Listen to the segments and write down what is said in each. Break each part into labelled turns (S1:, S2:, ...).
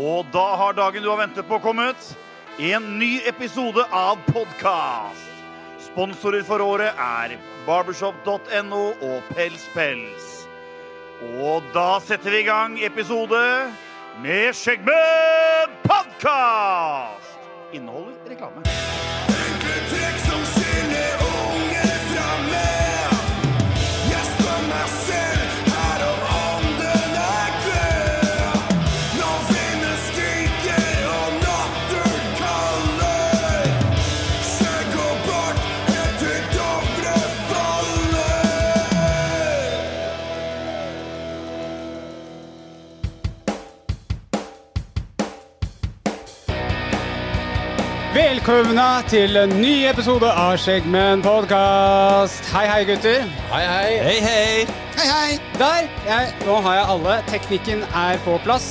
S1: Og da har dagen du har ventet på, kommet. En ny episode av podkast. Sponsorer for året er barbershop.no og Pels Pels. Og da setter vi i gang episode med Skjeggmenn podkast! Inneholder reklame.
S2: Velkomna til en ny episode av Skjeggmenn podkast. Hei, hei, gutter.
S3: Hei, hei.
S4: Hei, hei.
S2: Hei, hei. Der. Jeg, nå har jeg alle. Teknikken er på plass.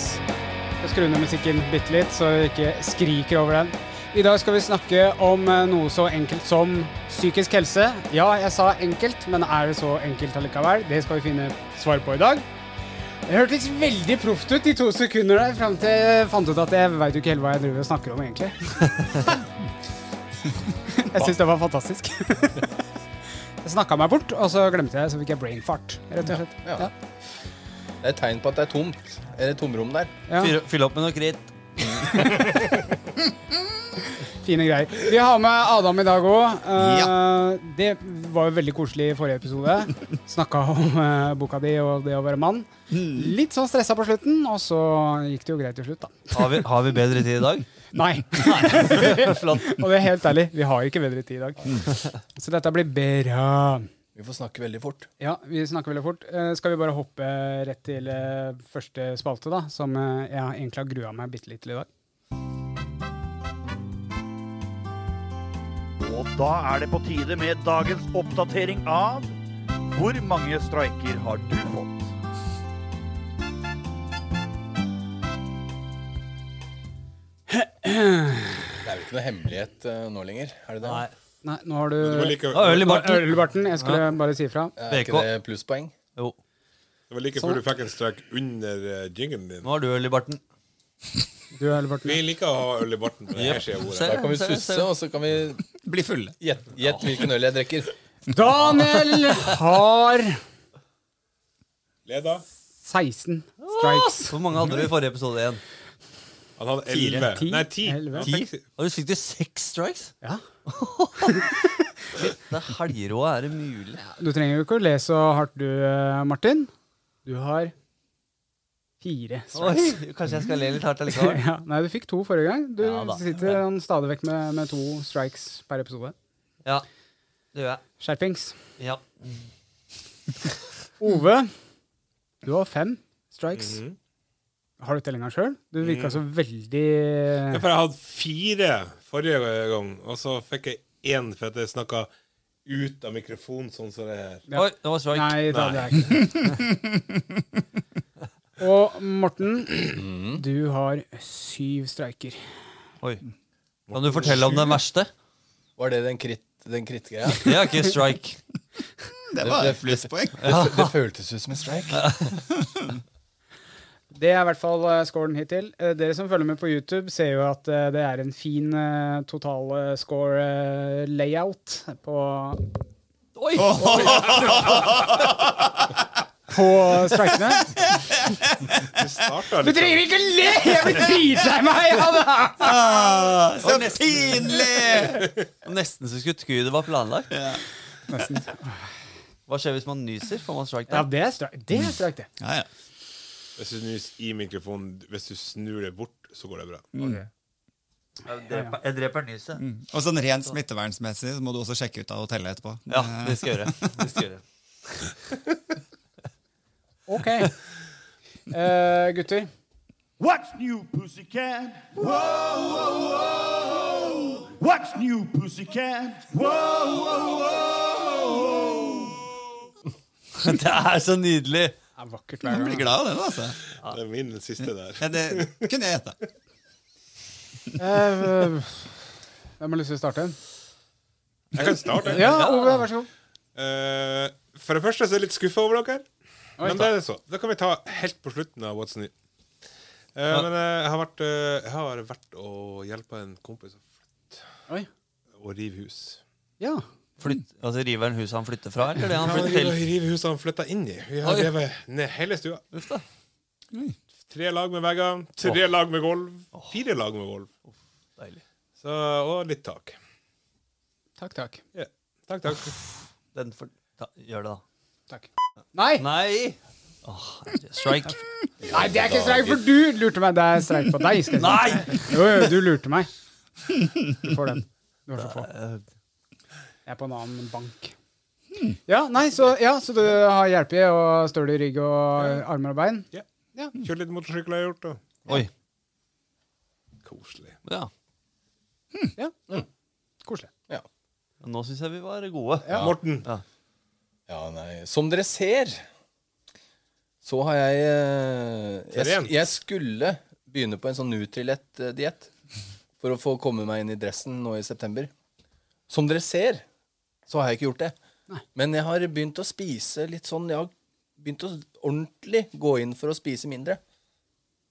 S2: Jeg skrur ned musikken bitte litt, så vi ikke skriker over den. I dag skal vi snakke om eh, noe så enkelt som psykisk helse. Ja, jeg sa enkelt, men er det så enkelt allikevel? Det skal vi finne svar på i dag. Det hørtes veldig proft ut i to sekunder der, fram til jeg fant ut at jeg veit jo ikke helt hva jeg driver og snakker om, egentlig. Jeg syns det var fantastisk. Jeg snakka meg bort, og så glemte jeg, så fikk jeg brain fart. Rett og slett.
S3: Ja, ja. Det er et tegn på at det er tomt. Eller tomrom der.
S2: Ja.
S4: Fyr, fyll opp med noe kritt.
S2: Fine greier. Vi har med Adam i dag òg. Det var jo veldig koselig i forrige episode. Snakka om eh, boka di og det å være mann.
S5: Mm.
S2: Litt sånn stressa på slutten, og så gikk det jo greit til slutt, da.
S4: Har vi, har vi bedre tid i dag?
S2: Nei.
S4: Flott.
S2: Og det er helt ærlig, vi har ikke bedre tid i dag.
S5: Mm.
S2: Så dette blir bra.
S3: Vi får snakke veldig fort.
S2: Ja, vi snakker veldig fort. Eh, Skal vi bare hoppe rett til eh, første spalte, da? Som eh, jeg egentlig har grua meg bitte litt til i dag.
S1: Og da er det på tide med dagens oppdatering av Hvor mange streiker har du fått?
S3: Det er jo ikke noe hemmelighet eh, nå lenger. Er det det?
S4: Nei.
S2: Nei, nå har
S5: Men Det
S2: du
S5: var like,
S4: Ah, øl i barten.
S2: Ølbarten, jeg skulle bare si ifra.
S3: Er ikke
S4: BK.
S3: det plusspoeng?
S4: Jo,
S5: det var like før du fikk en strek under uh, jinglen din.
S4: nå har du øl i barten.
S2: Du, Ølbarten.
S5: Vi liker å ha øl i barten på det her siden av
S4: Se.
S5: ordet.
S3: Da kan vi
S4: ser jeg, ser
S3: susse,
S4: jeg.
S3: og så kan vi
S4: Bli fulle.
S3: gjett gjett hvilken øl jeg drikker.
S2: Daniel har
S5: Leda.
S2: 16 strikes.
S4: Hvor mange hadde du i forrige episode igjen?
S5: Han hadde elleve.
S2: Ti.
S5: Nei, ti.
S2: Elleve.
S5: Han
S4: Ti?
S5: fikk-
S4: Har du sykt i seks strikes?
S2: Ja.
S4: Det er helgerå, er det mulig?
S2: Du trenger jo ikke å le så hardt du, eh, Martin. Du har fire
S4: Oi,
S2: strikes.
S4: kanskje jeg skal le litt hardt allikevel?
S2: Ja, nei, du fikk to forrige gang. Du
S4: Ja da.
S2: sitter han stadig vekk med, med to strikes per episode.
S4: Ja, det gjør jeg.
S2: Skjerpings.
S4: Ja.
S2: Ove, du har fem strikes.
S4: Mhm.
S2: Har du tellinga sjøl? Du virka
S4: Mm.
S2: så
S5: Det er
S2: veldig
S5: for jeg hadde fire forrige gang, og så fikk jeg én for at jeg snakka ut av mikrofonen sånn som det her.
S2: Ja.
S4: Oi, det var strike.
S2: Nei, det hadde jeg ikke. Og Morten, du har syv streiker.
S4: Oi. Kan du fortelle om den verste?
S3: Var det den kritt den krittgreia?
S4: Det er ikke strike.
S6: Det var et plusspoeng.
S3: Det, fø- det føltes ut som en strike.
S2: Det er i hvert fall eh, scoren hittil. Eh, Dere som følger med på YouTube, ser jo at eh, det er en fin eh, total eh, score eh, layout på,
S4: Oi!
S2: på strikene.
S5: Det starta
S2: Du trenger ikke le! Jeg blir dritlei meg av det her!
S6: Ah, så
S4: Og nesten.
S6: pinlig!
S4: Nesten så skulle tro det var planlagt.
S6: Ja.
S4: Hva skjer hvis man nyser? Får man strike
S2: Ja,
S4: da?
S2: det er strike, det. Er strike, det.
S6: Ja, ja.
S5: Hvis du snus i mikrofonen, hvis du snur det bort, så går det bra.
S4: Jeg dreper- Jeg dreper nyset.
S6: Og sånn rent smittevernsmessig så må du også sjekke ut av hotellet etterpå.
S4: Ja, det skal jeg gjøre. Det skal jeg gjøre.
S2: Ok. Eh, gutter,
S1: What's new, pussycat? Whoa, whoa, whoa. What's new, pussycat? Whoa,
S4: Det er så nydelig!
S2: det er vakkert hver
S6: Du
S2: gang.
S6: blir glad av det, altså.
S5: Det er min siste der.
S6: Ja, det kunne jeg gjette.
S2: Eh, Hvem har lyst til å starte?
S5: Jeg kan starte.
S2: Ja, Ove, vær så god.
S5: Eh, for det første så er jeg litt skuffa over dere. Men det er det så. Da kan vi ta helt på slutten av What's New. Eh, Eh, men eh, jeg har vært, eh, jeg har vært og hjelpa en kompis å flytte
S2: Oi.
S5: og rive hus.
S2: Ja.
S4: Flytt, altså River han huset han flytter fra, eller det han
S5: Ja,
S4: flytter
S5: rive,
S4: til?
S5: rive huset han flytta inn i. Vi
S4: Oi.
S5: har revet ned hele stua.
S4: Uff da.
S5: Tre lag med vegger, tre lag med gulv, fire lag med gulv.
S4: Deilig.
S5: Så, og litt tak.
S2: Takk, takk.
S5: Ja. Takk, takk.
S4: Den for, ta, gjør det, da.
S2: Takk. Nei!
S4: Nei! Åh, strike.
S2: Nei, det er ikke streik, for du lurte meg. Det er streik på deg. Skal jeg si.
S4: Nei!
S2: Jo, jo, du lurte meg. Du får den. Du har så få.
S4: Eh,
S2: Jeg er på en annen bank. Ja, nei, så, ja, så du har hjelpe og støl i rygg og armer og bein?
S5: Ja.
S2: Ja.
S5: Kjørt litt motorsykkel har jeg gjort, og
S4: Oi.
S5: koselig.
S4: Ja.
S2: Ja. Koselig.
S3: Ja.
S4: Men Nå syns jeg vi var gode.
S5: Morten,
S4: Ja.
S3: Ja, nei. Som dere ser, så har jeg eh, Jeg,
S5: Trent.
S3: sk- jeg skulle begynne på en sånn Nutrilett-diett for å få komme meg inn i dressen nå i september. Som dere ser, så har jeg ikke gjort det. Men jeg har begynt å spise litt sånn Jeg har begynt å ordentlig gå inn for å spise mindre.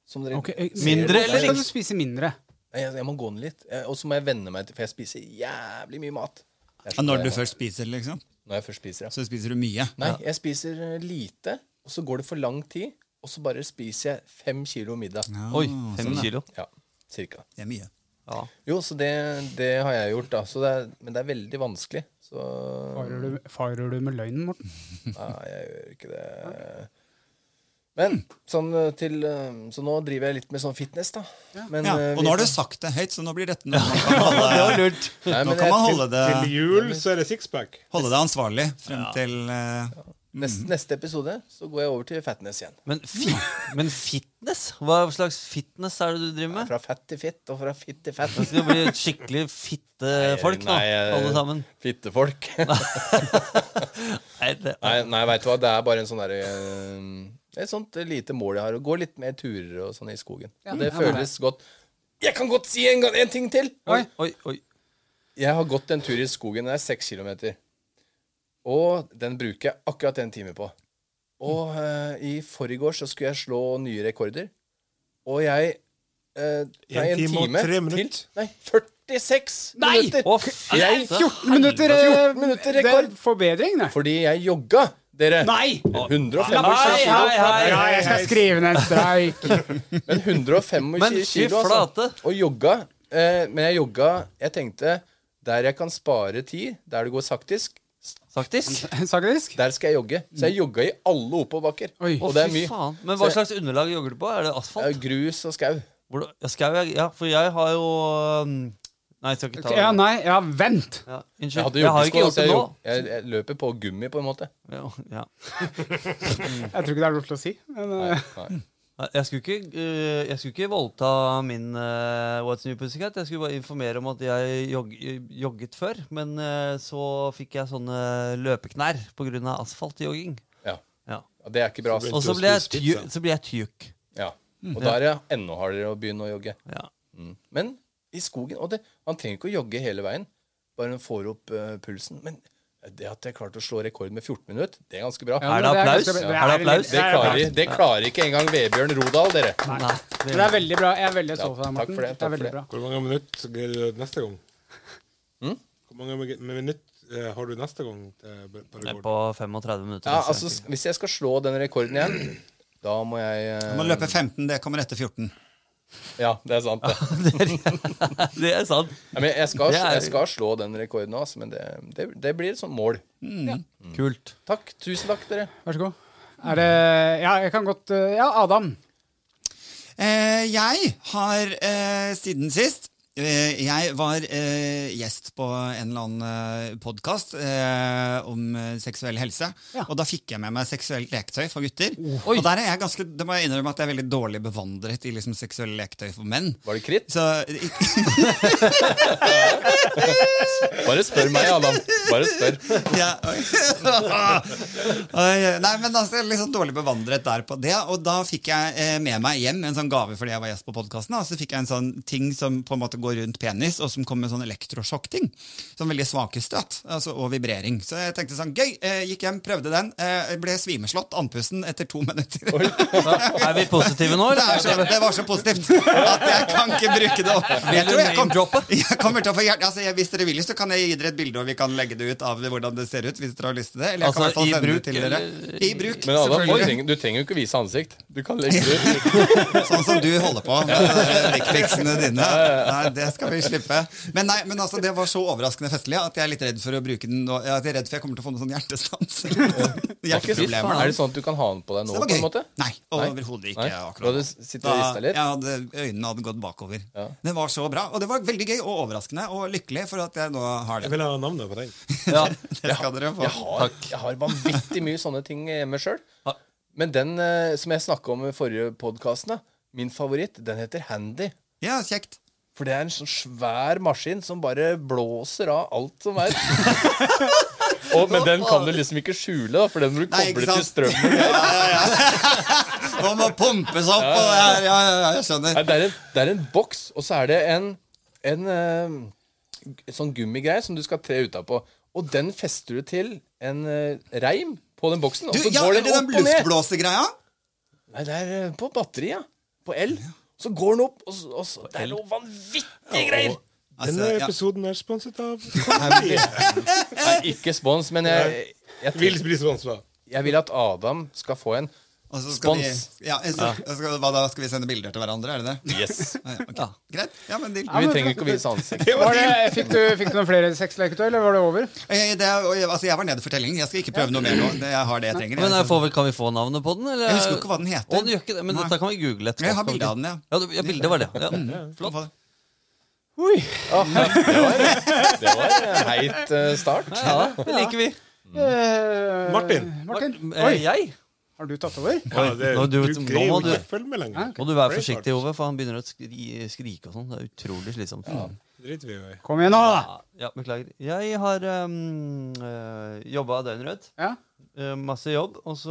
S3: Som dere ser.
S4: eh, Mindre
S2: Hvorfor
S4: eller
S2: skal du spise mindre?
S3: Nei, Jeg, jeg må gå ned litt. Jeg- Og så må jeg venne meg til For jeg spiser jævlig mye mat. Jeg
S6: Ja,
S3: skjønner
S6: når
S3: det,
S6: du
S3: jeg må-
S6: først spiser, liksom,
S3: Når jeg først spiser, ja.
S6: så spiser du mye.
S3: Nei, jeg spiser eh, lite, og så går det for lang tid, og så bare spiser jeg fem kilo middag.
S6: Ja,
S4: Oi, fem
S6: sånn, ja.
S4: kilo.
S3: Ja, cirka.
S6: Det er mye.
S4: Ja.
S3: Jo, så det, det har jeg gjort, da. Så det er, men det er veldig vanskelig. Så
S2: Farer du, farer du med løgnen, Morten?
S3: nei, jeg gjør ikke det. Men sånn eh, til eh, Så nå driver jeg litt med sånn fitness, da. Men,
S6: Ja,
S3: eh,
S6: og
S3: vi-
S6: nå har du sagt det høyt, så nå blir dette noe man kan holde,
S3: Nei,
S6: nå
S3: men
S6: kan
S3: jeg-
S6: man
S3: til-
S6: holde det,
S5: til jul så er det sixpack.
S6: holde det ansvarlig frem til eh,
S3: Neste, neste episode så går jeg over til fatness igjen.
S4: Men, fi, men fitness? Hva slags fitness er det du driver med?
S3: Fra fett til fitt, og fra fitt til fett.
S4: Vi skal bli skikkelig fittefolk nå,
S3: Nei, jeg-
S4: alle sammen.
S3: Fittefolk.
S4: Nei, det,
S3: Nei, nei veit du hva, det er bare en sånn derre eh, Et sånt lite mål jeg har. Å gå litt mer turer og sånn i skogen.
S2: Ja,
S3: Og det
S2: ja, men
S3: føles godt. Jeg kan godt si en, gang- en ting til!
S4: oi, oi, oi.
S3: Jeg har gått en tur i skogen. Det er seks kilometer. Og den bruker jeg akkurat en time på. Og eh, i forgårs så skulle jeg slå nye rekorder. Og jeg eh, nei,
S5: En time og tre minutter.
S3: Til, nei, 46
S2: Nei!
S3: minutter!
S4: Å, f-
S3: Jeg-
S4: altså,
S2: 14 minutter, eh,
S3: 14 minutter rekord.
S2: Det er forbedring, det.
S3: Fordi jeg jogga, dere.
S2: Nei!
S3: 125
S4: Hei, hei, hei!
S2: Nei, jeg skal skrive ned en streik.
S3: Men 125
S4: Men fy
S3: kilo, altså.
S4: flate.
S3: Og jogga. Eh, men jeg jogga Jeg tenkte der jeg kan spare tid, der det går saktisk,
S4: Faktisk.
S2: Sagdisk?
S3: der skal jeg jogge. Så jeg jogga i alle oppoverbakker.
S2: Oi.
S3: Og
S4: Å,
S3: det er
S4: fy
S3: mye.
S4: faen. Men hva
S3: Så-
S4: slags underlag jogger du på? Er det
S3: Det er
S4: asfalt?
S3: grus og skau.
S4: Hvor du- ja, Skau? jeg- Ja, for jeg har jo um, Nei, jeg skal ikke ta
S2: Ja, nei, ja, vent.
S4: Ja,
S3: Jeg
S4: unnskyld.
S3: hadde
S4: Jeg, har jo
S3: joggesko,
S4: ikke gjort
S3: altså,
S4: det
S3: jeg,
S4: nå.
S3: jog- jeg, jeg løper på gummi, på en måte.
S4: Ja, ja.
S2: Jeg tror ikke det er lov til å si. Men, eh,
S3: Nei.
S4: Nei, Jeg skulle ikke, eh, jeg skulle ikke voldta min eh, What's New Pussycat. Jeg skulle bare informere om at jeg jog, jogget før. Men eh, så fikk jeg sånne løpeknær pga. asfaltjogging.
S3: Ja.
S4: Ja.
S3: ja, Det er ikke bra.
S4: Og
S3: Altså.
S4: så ble jeg tju- så ble jeg tjukk.
S3: Ja. Og da er det enda hardere å begynne å jogge.
S4: Ja.
S3: Mm. Men i skogen Og det, han trenger ikke å jogge hele veien. Bare han får opp eh, pulsen. Men det at jeg klarte å slå rekord med 14 minutter, det er ganske bra.
S2: ja, men
S4: Er det applaus?
S2: ganske-
S4: Er det applaus?
S3: Det klarer, det klarer ikke engang Vebjørn Rodal, dere.
S4: Nei,
S2: Men
S4: det,
S2: Det er veldig bra. Jeg er veldig stolt av
S3: Ja,
S2: deg,
S3: takk
S2: Morten.
S3: for det,
S2: er
S3: takk for
S2: veldig
S3: det.
S2: bra.
S5: Hvor mange minutter gleder du deg neste gang? Hvor mange mi- minutter eh, har du neste gang eh, til b- på
S4: det er
S5: rekord?
S4: på 35 minutter.
S3: Ja,
S4: altså.
S3: altså, s- hvis jeg skal slå den rekorden igjen, da må jeg eh,
S6: Man løper 15, det kommer etter 14.
S3: Ja, det er sant. Det.
S4: det er sant.
S3: Ja, men jeg, skal,
S4: Det er-
S3: jeg skal slå den rekorden nå, altså, men det, det, det blir et sånt mål.
S6: Mm.
S4: Kult.
S3: Takk. Tusen takk, dere.
S2: Vær så god. Er det Ja, jeg kan godt eh, Ja, Adam.
S6: Eh, jeg har eh, siden sist eh, Jeg var eh, gjest på en eller annen eh, podkast eh, om eh, seksuell helse.
S2: Ja.
S6: Og da fikk jeg med meg seksuelt leketøy for gutter. Og der er jeg ganske, det må jeg innrømme at jeg er veldig dårlig bevandret i liksom, seksuelle leketøy for menn.
S3: Var det kritt?
S6: Så
S3: Bare spør meg, Adam. Bare spør.
S6: ja, oi. Oi, Nei, men altså, jeg er liksom dårlig bevandret der på det. Og da fikk jeg eh, med meg hjem en sånn gave fordi jeg var gjest på podkasten. Så fikk jeg en sånn ting som på en måte går går rundt penis, og som kommer med sånn elektrosjokkting. Sånn veldig svake støt altså, og vibrering. Så jeg tenkte sånn, gøy, eh, gikk hjem, prøvde den. eh, Ble svimeslått, andpusten, etter to minutter.
S4: Er vi positive nå?
S6: Det, er så,
S4: eller?
S6: det var så positivt at jeg kan ikke bruke det opp. Jeg
S4: Vil du
S6: tror jeg kom-
S4: name-droppe?
S6: jeg kommer til å få hjert- altså, jeg, Hvis dere vil, så kan jeg gi dere et bilde, og vi kan legge det ut av hvordan det ser ut. Hvis dere har lyst til det. Eller jeg kan i
S4: Altså,
S6: hvert
S4: i
S6: fall sende
S4: bruk,
S6: det til dere.
S4: eller-
S6: I bruk,
S3: Men Adam, du
S6: selvfølgelig.
S3: trenger, du trenger jo ikke vise ansikt. Du kan legge det ut.
S6: Sånn som du holder på med eh, dickpicsene dine. Nei, det skal vi slippe. Men, nei, men altså, det var så overraskende festlig at jeg er litt redd for å bruke den nå. At jeg er redd for jeg kommer til å få noen sånn hjertestans. Hjerteproblemer.
S3: Er det sånn at du kan ha den på deg
S6: Så
S3: nå?
S6: det var
S3: på en
S6: gøy.
S3: måte?
S6: Nei, overhodet ikke.
S3: Nei?
S6: akkurat
S3: Du hadde
S6: nå.
S3: s- sittet og ristet litt?
S6: jeg hadde, øynene hadde gått bakover.
S3: Ja.
S6: Det var så bra, og det var veldig gøy og overraskende og lykkelig for at jeg nå har
S5: Jeg
S6: det.
S5: vil ha navnet på den.
S4: Ja.
S6: Det skal dere få.
S3: Jeg har, jeg har vanvittig mye sånne ting hjemme sjøl. Men den eh, som jeg snakka om i forrige podkast, min favoritt, den heter Handy.
S6: Ja, kjekt.
S3: For det er en sånn svær maskin som bare blåser av alt som er. Og, men den kan du liksom ikke skjule, da, for den må du
S6: Nei, ikke
S3: koble til
S6: sant?
S3: strømmen.
S6: Nå må pumpes opp, og det er, ja, ja, ja, jeg skjønner.
S3: Nei, det, er en, det er en boks, og så er det en, en eh, g- sånn gummigreie som du skal tre utapå. Og den fester du til en eh, reim på den boksen, og
S6: Du,
S3: så
S6: ja,
S3: går
S6: er
S3: den
S6: det den
S3: opp og ned.
S6: luftblåsegreia?
S3: Nei, det er eh, på batteri, ja. På el. Så går den opp, og, så- og så Det er noe vanvittige greier!
S6: Altså,
S5: Denne
S6: ja.
S5: episoden er sponset av
S3: Nei, ikke spons, men jeg, jeg,
S5: Vil bli sponset av.
S3: jeg vil at Adam skal få en.
S6: Og så skal vi,
S3: Spons.
S6: ja, jeg skal, jeg skal, hva da, skal vi sende bilder til hverandre, er det det?
S3: Yes.
S6: Ja, ja, ok. Greit. Ja, men deal.
S3: Vi trenger ikke å vise ansikt.
S2: Var det, fikk, du, fikk du noen flere sexleketøy, eller var det over?
S3: Mm.
S6: Eh, Det, er- oi, altså, jeg var nede for tellingen. Jeg skal ikke prøve noe mer nå. Det- Jeg har det jeg trenger.
S4: Men jeg
S6: så-
S4: får, vel- kan vi få navnet på den? Eller?
S6: Jeg husker jo ikke hva den
S4: Å,
S6: heter.
S4: den gjør ikke det, men
S6: Nei.
S4: dette kan vi google etterpå.
S6: Jeg har
S4: kan vi
S6: bilde
S4: ikke?
S6: av den, Mm. ja.
S4: Ja, du- ja bildet var det. Ja.
S6: Få
S4: Flott.
S6: det.
S3: Det var en heit eh, start.
S4: Ja, det liker vi.
S2: Eh,
S5: Martin.
S2: Martin.
S4: Eh,
S2: Oi,
S4: Jeg?
S2: har du tatt over?
S5: Ja, det,
S4: Nå,
S5: du
S4: du- nå
S5: greier jo
S4: må du-
S5: ikke å følge med lenger.
S4: Må du være forsiktig, Ove, for han begynner å skri skrike og sånn. Det er utrolig slitsomt.
S5: Driter vi jo i.
S2: Kom igjen nå, da!
S4: Ja, ja, beklager. Jeg har um, øh, jobba døgnrødt.
S2: Ja.
S4: øh, Masse jobb. Og så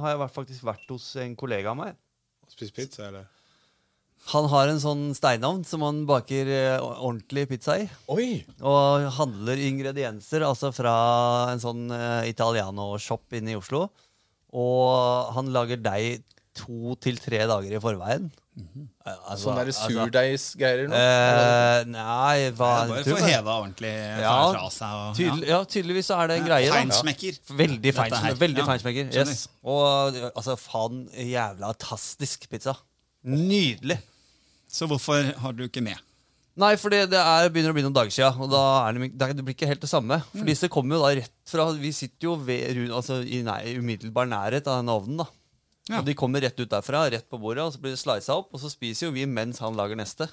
S4: har jeg vært- faktisk vært hos en kollega av meg.
S5: Spise pizza, eller?
S4: Han har en sånn steinovn som han baker øh, ordentlig pizza i.
S3: Oi!
S4: Og handler ingredienser altså fra en sånn eh, italiano-shop inne i Oslo. Og han lager deig to til tre dager i forveien. Eh, altså-
S3: Sånn der
S4: altså,
S3: surdeigsgreier nå.
S4: eh, nei, hva
S6: Bare
S4: tror
S6: få
S4: jeg-
S6: heva ordentlig
S4: Ja,
S6: fra seg. Og, ja.
S4: Tydel, ja, tydeligvis så er det en greie. da.
S6: Feinsmekker.
S4: Veldig
S6: Dette her.
S4: feinsmekker. Veldig
S6: Ja,
S4: feinsmekker.
S6: skjønner.
S4: Yes. Og eh, altså, faen jævla tastisk pizza. Nydelig.
S6: Så hvorfor har du ikke med?
S4: Nei, for det, det er, begynner å bli noen dager siden, og da er det, det blir ikke helt det samme. For
S6: Mm.
S4: disse kommer jo da rett fra Vi sitter jo ved, ru- altså, i nei, umiddelbar nærhet av den ovnen, da.
S6: Ja.
S4: Og de kommer rett ut derfra, rett på bordet, og så blir det slisa opp, og så spiser jo vi mens han lager neste.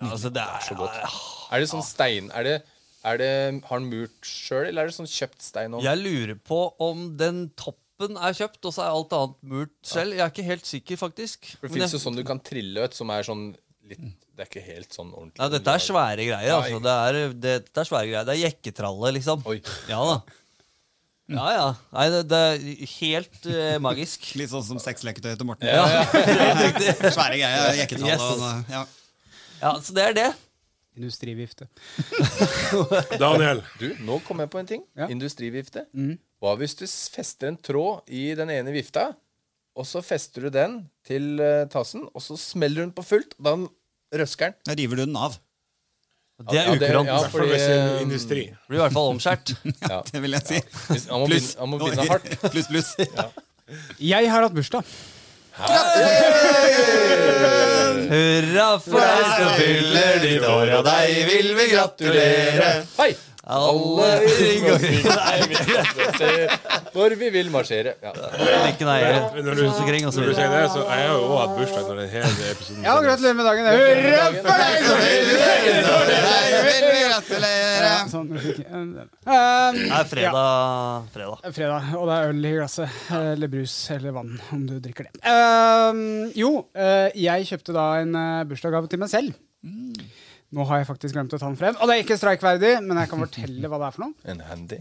S4: altså, det er,
S3: Er det sånn stein er det, er det, Har han murt sjøl, eller er det sånn kjøpt stein? om-
S4: Jeg lurer på om den toppen er kjøpt, og så er alt annet murt selv. Jeg er ikke helt sikker, faktisk.
S3: For det
S4: Men
S3: fins
S4: jeg-
S3: jo sånn du kan trille ut, som er sånn litt Det er ikke helt sånn ordentlig.
S4: Nei, dette er svære greier. Altså. Det, er, det, dette er svære greier. Det er jekketralle, liksom.
S3: Oi.
S4: Ja da. Ja, ja. Nei, det, det er helt eh, magisk.
S6: Litt sånn som sexleketøy til Morten.
S4: Ja.
S6: Svære greier. Jekketall
S4: Yes.
S6: og ja.
S4: ja, så det er det.
S2: Industrivifte.
S5: Daniel.
S3: Du, nå kom jeg på en ting.
S2: Ja.
S3: Industrivifte. Hva hvis du s- fester en tråd i den ene vifta, og så fester du den til eh, tassen, og så smeller hun på fullt, og da røsker den?
S6: Da river du den av.
S4: Det er
S3: Ja, det-
S4: ukurant.
S3: ja,
S5: For
S3: fordi,
S5: hvis det er
S3: eh,
S5: industri.
S4: Blir i hvert fall omskjært.
S3: Ja.
S6: Det vil jeg si.
S3: Hvis- Han må
S6: Pluss.
S3: begynne- han må begynne hardt.
S6: Pluss, pluss.
S2: Jeg har hatt bursdag.
S4: Hurra for deg som fyller ditt år, og deg vil vi gratulere.
S3: Hei!
S4: Alle i ring og kring.
S3: Når vi vil marsjere. Ja.
S4: Like nære.
S5: Men Når du,
S4: Rundt omkring og så
S5: når du
S4: videre.
S5: sier det, så jeg har jo også hatt bursdag når den hele episoden
S2: Ja,
S5: sendes.
S2: gratulerer med dagen. Hurra for deg! som
S6: Jeg vil gratulere.
S2: Ja, sånn, jeg fikk- Eh,
S4: Det er fredag. fredag.
S2: eh, Fredag, og det er øl i glasset. Eller brus eller vann, om du drikker det. Eh, jo, eh, jeg kjøpte da en eh, bursdagsgave til meg selv. Nå har jeg faktisk glemt å ta den frem. Og det er ikke streikverdig, men jeg kan fortelle hva det er for noe.
S3: En handy.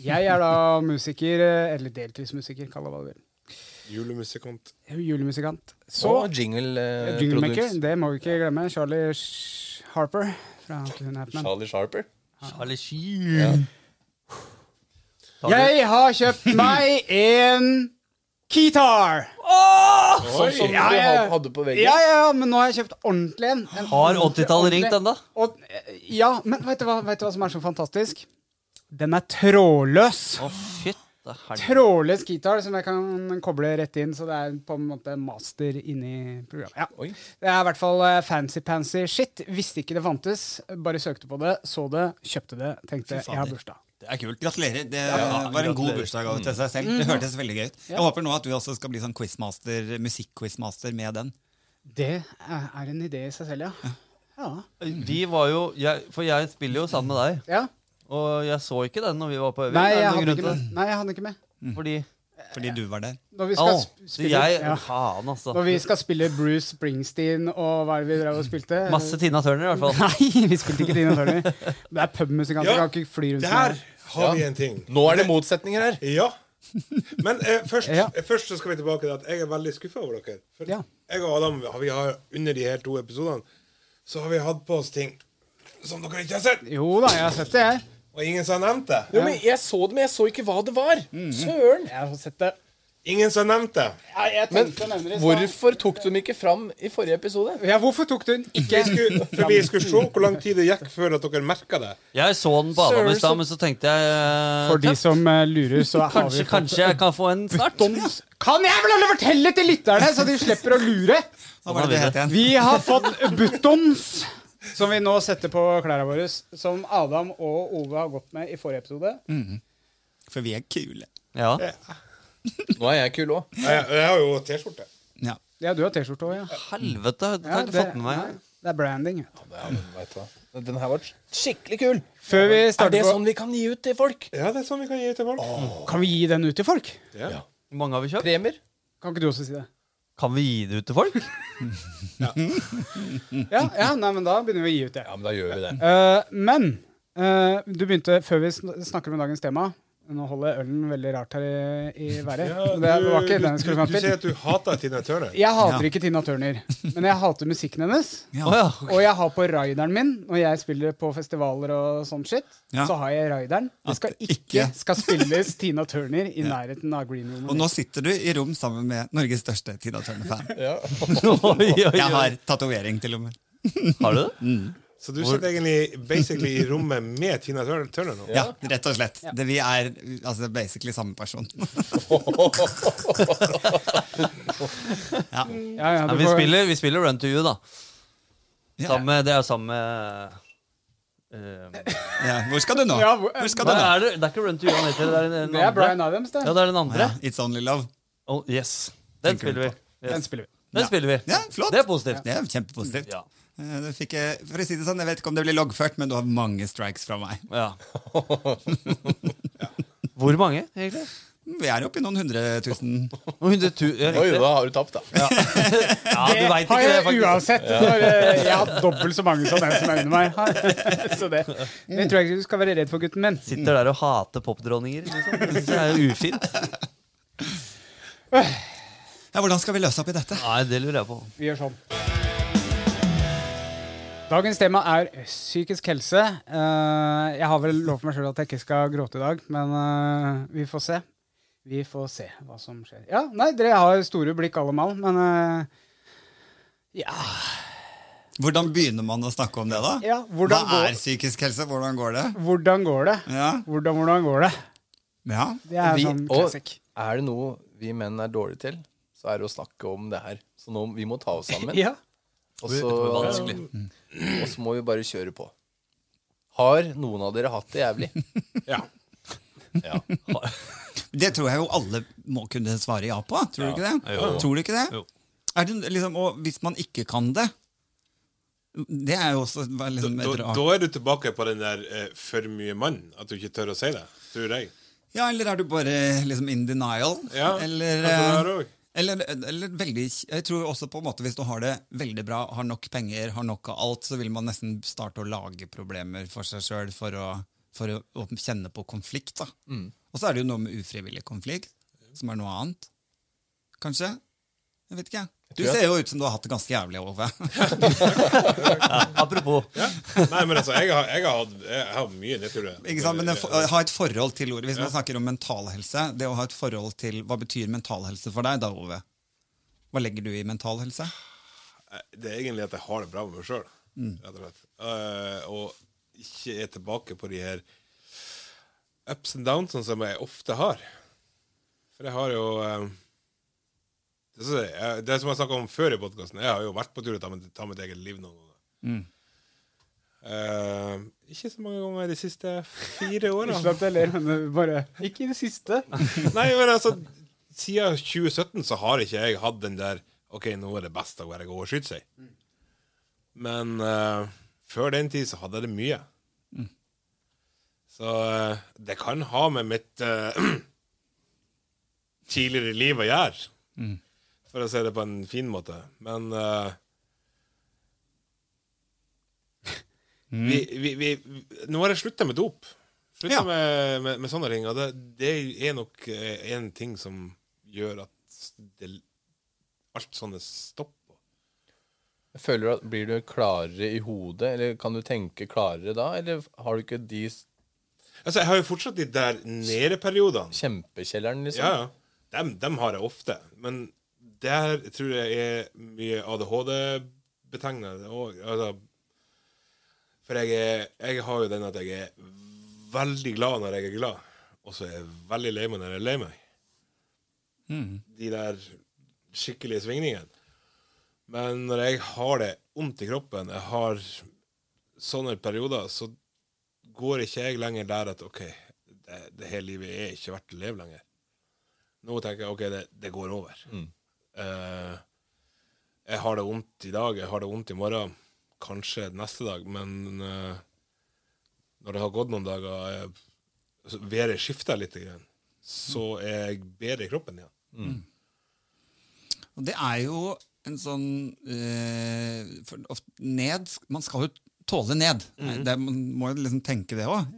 S2: Jeg er da musiker, eh, eller deltidsmusiker, kall det hva du vil.
S5: Julemusikant.
S2: Jeg er jo Julemusikant.
S3: Så
S2: Så
S3: jingle, eh,
S2: Jinglemaker,
S3: produce.
S2: det må vi ikke glemme. Charlie Sh- Harper fra Cloon Hapman.
S3: Charlie Sharper.
S2: Mm.
S4: Charlie
S3: Ja.
S4: Sheen. Tar du-
S2: Jeg har kjøpt meg en Kitar!
S3: Sånn som
S2: Ja, ja,
S3: du
S2: ja.
S3: ha- hadde på veggen.
S2: Ja, ja, ja, men nå har jeg kjøpt ordentlig en. en
S4: Har
S2: ordentlig-
S4: 80-tallet ringt ennå?
S2: Og, eh, ja, men vet du, hva, vet du hva som er så fantastisk? Den er trådløs.
S4: Å, fytte helvete.
S2: Trådløs gitar som jeg kan koble rett inn, så det er på en måte master inni programmet. Ja.
S3: Oi.
S2: Det er i hvert fall eh, fancy-pansy shit. Visste ikke det fantes. Bare søkte på det, så det, kjøpte det, tenkte
S6: Fy fader.
S2: jeg har bursdag.
S6: Det er kult. Gratulerer. Det var
S4: gratulerer. Mm.
S6: en god
S4: Mhm.
S6: bursdagsgave til seg selv. Det hørtes veldig gøy ut. Jeg håper nå at du også skal bli sånn quizmaster, musikk-quizmaster med den.
S2: Det er er en idé i seg selv, ja. Ja.
S4: Vi var jo jeg, For jeg spiller jo sammen med deg,
S2: ja.
S4: og jeg så ikke den når vi var på øving.
S2: Nei,
S4: Er
S2: jeg
S4: det noen
S2: hadde
S4: grunn
S2: ikke
S4: til
S2: med. Nei, jeg hadde ikke med.
S4: det? Fordi
S6: Fordi du var der.
S2: Når vi
S4: Au,
S2: skal sp-
S4: så
S2: spille,
S4: jeg
S2: ja.
S4: Faen, altså.
S2: Når vi skal spille Bruce Springsteen og hva er det vi drev og spilte?
S4: Masse Tina Turner, i hvert fall.
S2: Nei, vi spilte ikke Tina Turner. Det er pubmusikanter.
S5: Ja,
S2: Ja, kan ikke fly rundt
S5: Det her
S2: med-
S5: har vi en ting.
S3: Nå er det motsetninger her.
S5: Ja. Men eh, først,
S2: Ja.
S5: eh, først så skal vi tilbake til at jeg er veldig skuffa over dere. For
S2: Ja.
S5: jeg og Adam har- vi har under de her to episodene så har vi hatt på oss ting som dere ikke har sett,
S2: Jo da, jeg har sett det, jeg.
S5: og ingen som har nevnt det.
S3: Jo, men Jeg så det, men jeg så ikke hva det var.
S2: Mm.
S3: Søren!
S2: Jeg har sett det.
S5: Ingen som har nevnt det.
S2: Ja, jeg
S3: Men
S2: tenkte å nevne det i stad.
S3: hvorfor tok du den ikke fram i forrige episode?
S2: Ja, hvorfor tok du den ikke?
S5: Vi skulle, for vi skulle se hvor lang tid det gikk før at dere merka det.
S4: Jeg så den på Adam i
S3: Søren, så-
S4: stad, men så tenkte jeg eh,
S2: For de
S4: tøff.
S2: som eh, lurer, så har
S4: Kanskje,
S2: vi
S4: kanskje jeg kan få en snart?
S2: Dons. Kan jeg vel alle fortelle til lytterne, så de slipper å lure?
S6: Hva var det det
S4: har vi
S6: het igjen?
S2: Vi har fått buttons, som vi nå setter på klærne våre, som Adam og Ove har gått med i forrige episode.
S4: Mm.
S6: For vi er kule.
S4: Ja.
S3: Nå er jeg kul òg.
S5: Jeg, jeg har jo T-skjorte.
S6: Ja.
S2: Ja, du har T-skjorte òg, ja.
S4: Helvete, det
S2: ja
S4: har jeg ikke fått med meg.
S2: nei, det er branding. ja.
S3: Den her var skikkelig kul.
S2: Før vi
S3: Er det
S2: starter på
S3: sånn vi kan gi ut til folk?
S5: Ja, det er sånn vi kan gi til folk.
S2: Kan vi gi den ut til folk?
S5: Ja.
S4: Hvor mange har vi kjøpt?
S3: Premier?
S2: Kan ikke du også si det?
S4: Kan vi gi det ut til folk?
S2: Ja, ja nei, men da begynner vi å gi ut det.
S3: Ja, men da gjør vi det.
S2: Eh, men eh, du begynte før vi sn snakker om dagens tema Nå holder ølen veldig rart her i, i været.
S5: Ja,
S2: det var
S5: du,
S2: ikke den jeg
S5: du,
S2: skulle
S5: du,
S2: fram
S5: du sier
S2: til.
S5: at du hater Tina Turner.
S2: Jeg hater
S6: Ja.
S2: ikke Tina Turner, men jeg hater musikken hennes.
S4: Å ja.
S2: Og jeg har på rideren min når jeg spiller på festivaler og sånn shit.
S6: Ja.
S2: Så har jeg rideren. Det skal
S6: At
S2: ikke
S6: ikke-
S2: skal spilles Tina Turner i nærheten av green room.
S6: Og nå sitter du i rom sammen med Norges største Tina Turner-fan.
S4: Oi, oi, oi.
S6: Jeg har tatovering, til og med.
S4: Har du det?
S5: Så du sitter egentlig basically i rommet med Tina Turner, Turner nå?
S6: Ja, rett og slett. Det, vi er altså, basically samme person. ja.
S2: Ja, ja,
S4: Nei,
S2: du
S4: vi,
S2: får-
S4: spiller, vi spiller Run to You, da.
S6: Ja.
S4: Sammen, med- det er jo sammen med eh,
S6: Ja. Hvor skal du nå?
S2: Ja, hvor-
S6: Hvor skal
S4: Hva
S6: du nå?
S4: er det? Det er ikke Run to You han heter. Det er, den
S2: Det er
S4: andre.
S2: Bryan Adams, det.
S4: Ja, det er den andre.
S6: Ja, It's Only Love.
S4: Oh, yes. Den
S6: Tenker du
S4: spiller vi.
S2: Den
S4: Yes.
S2: spiller vi.
S4: Den spiller vi.
S6: Ja, flott.
S4: Det er positivt.
S6: Det er kjempepositivt.
S4: Ja.
S6: Eh, Du fikk, eh, for å si det sånn, Jeg vet ikke om det blir loggført, men du har mange strikes fra meg.
S4: Ja. Hvor mange, egentlig?
S6: Vi er oppe i noen hundre tusen.
S4: 100 000? Ja,
S3: Oi,
S4: riktig.
S3: da har du tapt, da.
S4: ja, du
S2: Det
S4: veit
S2: har
S4: ikke det,
S2: jeg
S4: faktisk.
S2: uansett. Når, eh, jeg har dobbelt så mange som den som er under meg. har. Så det, det tror jeg ikke du skal være redd for, gutten min.
S4: Sitter der og hater popdronninger. Liksom. Det synes jeg er jo ufint.
S6: Ja, Hvordan skal vi løse opp i dette?
S4: Nei, det lurer jeg på.
S2: Vi gjør sånn. Dagens tema er psykisk helse. Eh, jeg har vel lovt meg sjøl at jeg ikke skal gråte i dag, men eh, vi får se. Vi får se hva som skjer. Ja, nei, dere har store blikk alle mann, men eh,
S6: Hvordan begynner man å snakke om det, da?
S2: ja, hvordan,
S6: Hva er
S2: går,
S6: psykisk helse? Hvordan går det?
S2: hvordan går det?
S6: Ja.
S2: Hvordan, hvordan går det?
S6: ja.
S2: Det er
S3: Vi-
S2: sånn
S3: og
S2: classic.
S3: er det noe vi menn er dårlige til, så er det å snakke om det her. Så nå, vi må ta oss sammen.
S2: Ja.
S3: Og så, og så må vi bare kjøre på. Har noen av dere hatt det jævlig?
S5: Ja.
S3: Ja.
S6: Det tror jeg jo alle må kunne svare ja på. Tror du ikke det? Tror du ikke det? Er det liksom, og hvis man ikke kan det Det er jo også hva-
S5: Da,
S6: liksom, et
S5: da,
S6: rart
S5: da er du tilbake på den der eh, 'for mye mann', at du ikke tør å si det. Tror jeg.
S6: Ja, eller er du bare liksom in denial?
S5: Ja,
S6: eller,
S5: kanskje det er det
S6: eh,
S5: også.
S6: eller, eller veldig Jeg tror også på en måte hvis du har det veldig bra, har nok penger, har nok av alt, så vil man nesten starte å lage problemer for seg sjøl for, å- for å, å kjenne på konflikt. da.
S5: Mm.
S6: Og så er det jo noe med ufrivillig konflikt, som er noe annet. Kanskje? Jeg vet ikke. jeg. Du ser jo ut som du har hatt det ganske jævlig, Ove.
S4: Apropos.
S5: Nei, men altså, jeg har, jeg har, hatt, jeg har mye nedturer.
S6: Ikke sant? Men det, å ha et forhold til ordet. Hvis man snakker om mentalhelse, det å ha et forhold til Hva betyr mentalhelse for deg da, Ove? Hva legger du i mentalhelse?
S5: Eh, Det er egentlig at jeg har det bra med meg sjøl, rett og slett. Eh, og ikke er tilbake på de her ups and downs som jeg ofte har. For jeg har jo eh, det, som jeg, det som jeg snakka om før i podkasten, jeg har jo vært på tur til å ta mitt, ta mitt eget liv noen ganger. Eh, ikke så mange ganger de siste fire åra.
S2: Unnskyld at jeg ler, men bare Ikke i det siste.
S5: Nei, men altså Siden 2017 så har ikke jeg hatt den der OK, nå er det best å være god og skyte seg. Men eh, før den tid så hadde jeg det mye. Så eh, det kan ha med mitt eh, tidligere liv å gjøre, for å si det på en fin måte. Men eh, vi, vi, vi, Nå har jeg slutta med dop. Slutta
S6: Ja.
S5: med, med, med sånne ting. Og det, det er nok eh, en ting som gjør at det, alt sånne stopper.
S3: Jeg føler at, Blir du klarere i hodet, eller kan du tenke klarere da? Eller har du ikke de s-
S5: Altså, jeg har jo fortsatt de der nede-periodene.
S3: kjempekjelleren, liksom?
S5: Ja, ja. Dem, dem har jeg ofte. Men der tror jeg er mye ADHD-betegnende òg. Altså, for jeg, er, jeg har jo den at jeg er veldig glad når jeg er glad, og så er jeg veldig lei meg når jeg er lei meg. De der skikkelige svingningene. Men når jeg har det vondt i kroppen, jeg har sånne perioder, så går ikke jeg lenger der at OK, det, det her livet er ikke verdt å leve lenger. Nå tenker jeg OK, det, det går over. Eh, jeg har det vondt i dag, jeg har det vondt i morgen, kanskje neste dag, men eh, når det har gått noen dager, eh, så været skifter litt, grann, så er jeg bedre i kroppen igjen.
S6: Og det er jo en sånn eh, for, ofte, Ned Man skal jo tåle ned. Det, er- man må jo liksom tenke det òg.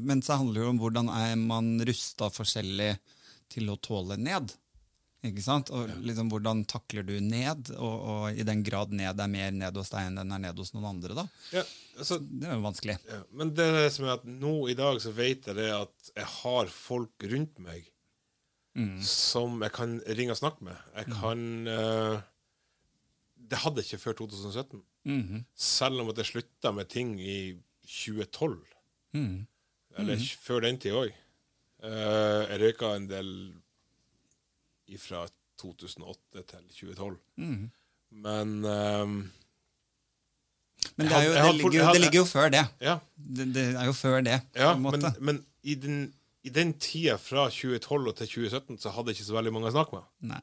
S6: Men så handler det jo om hvordan er man rusta forskjellig til å tåle ned. Ikke sant? Og liksom, hvordan takler du ned, og, og i den grad ned er mer ned hos deg enn den er ned hos noen andre. da.
S5: Ja, altså,
S6: Det er jo vanskelig.
S5: Ja, men det er det som er at nå i dag så vet jeg det at jeg har folk rundt meg som jeg kan ringe og snakke med. Jeg kan eh, Det hadde jeg ikke før 2017. Selv om at jeg slutta med ting i 2012. Eller før den tid òg. jeg røyka en del fra 2008 til 2012. Men eh,
S6: Men
S5: Jeg
S6: det, er jo,
S5: har- jeg har
S6: det,
S5: fort-
S6: ligger,
S5: jeg
S6: jo-
S5: har-
S6: det ligger jo før det.
S5: ja.
S6: Det, det er jo før det. på
S5: Ja,
S6: en måte.
S5: men, men i, den, i den tida fra 2012 og til 2017 så hadde jeg ikke så veldig mange å snakke med.
S6: Nei.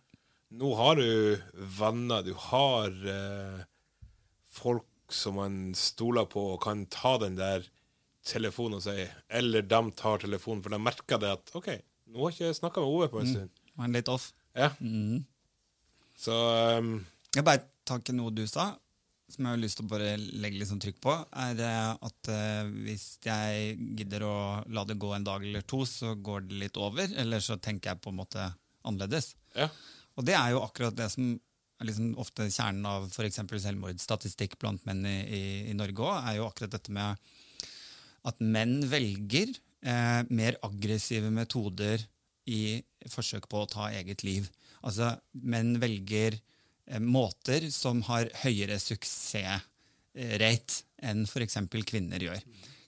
S5: Nå har du venner, du har eh, folk som man stoler på og kan ta den der telefonen og si Eller de tar telefonen, for de merker det at OK, nå har ikke jeg snakka med Ove på en
S6: Mm.
S5: stund.
S6: Var den litt off.
S5: Ja.
S6: Mm.
S5: Så um,
S6: Jeg bare tar ikke noe du sa, som jeg har lyst til å bare legge litt sånn trykk på, er eh, at eh, hvis jeg gidder å la det gå en dag eller to, så går det litt over, eller så tenker jeg på en måte annerledes.
S5: ja.
S6: Og det er jo akkurat det som er liksom ofte kjernen av for eksempel selvmordsstatistikk blant menn i, i, i Norge òg, er jo akkurat dette med at menn velger eh, mer aggressive metoder i forsøk på å ta eget liv. Altså, menn velger eh, måter som har høyere suksessrate enn f.eks. kvinner gjør.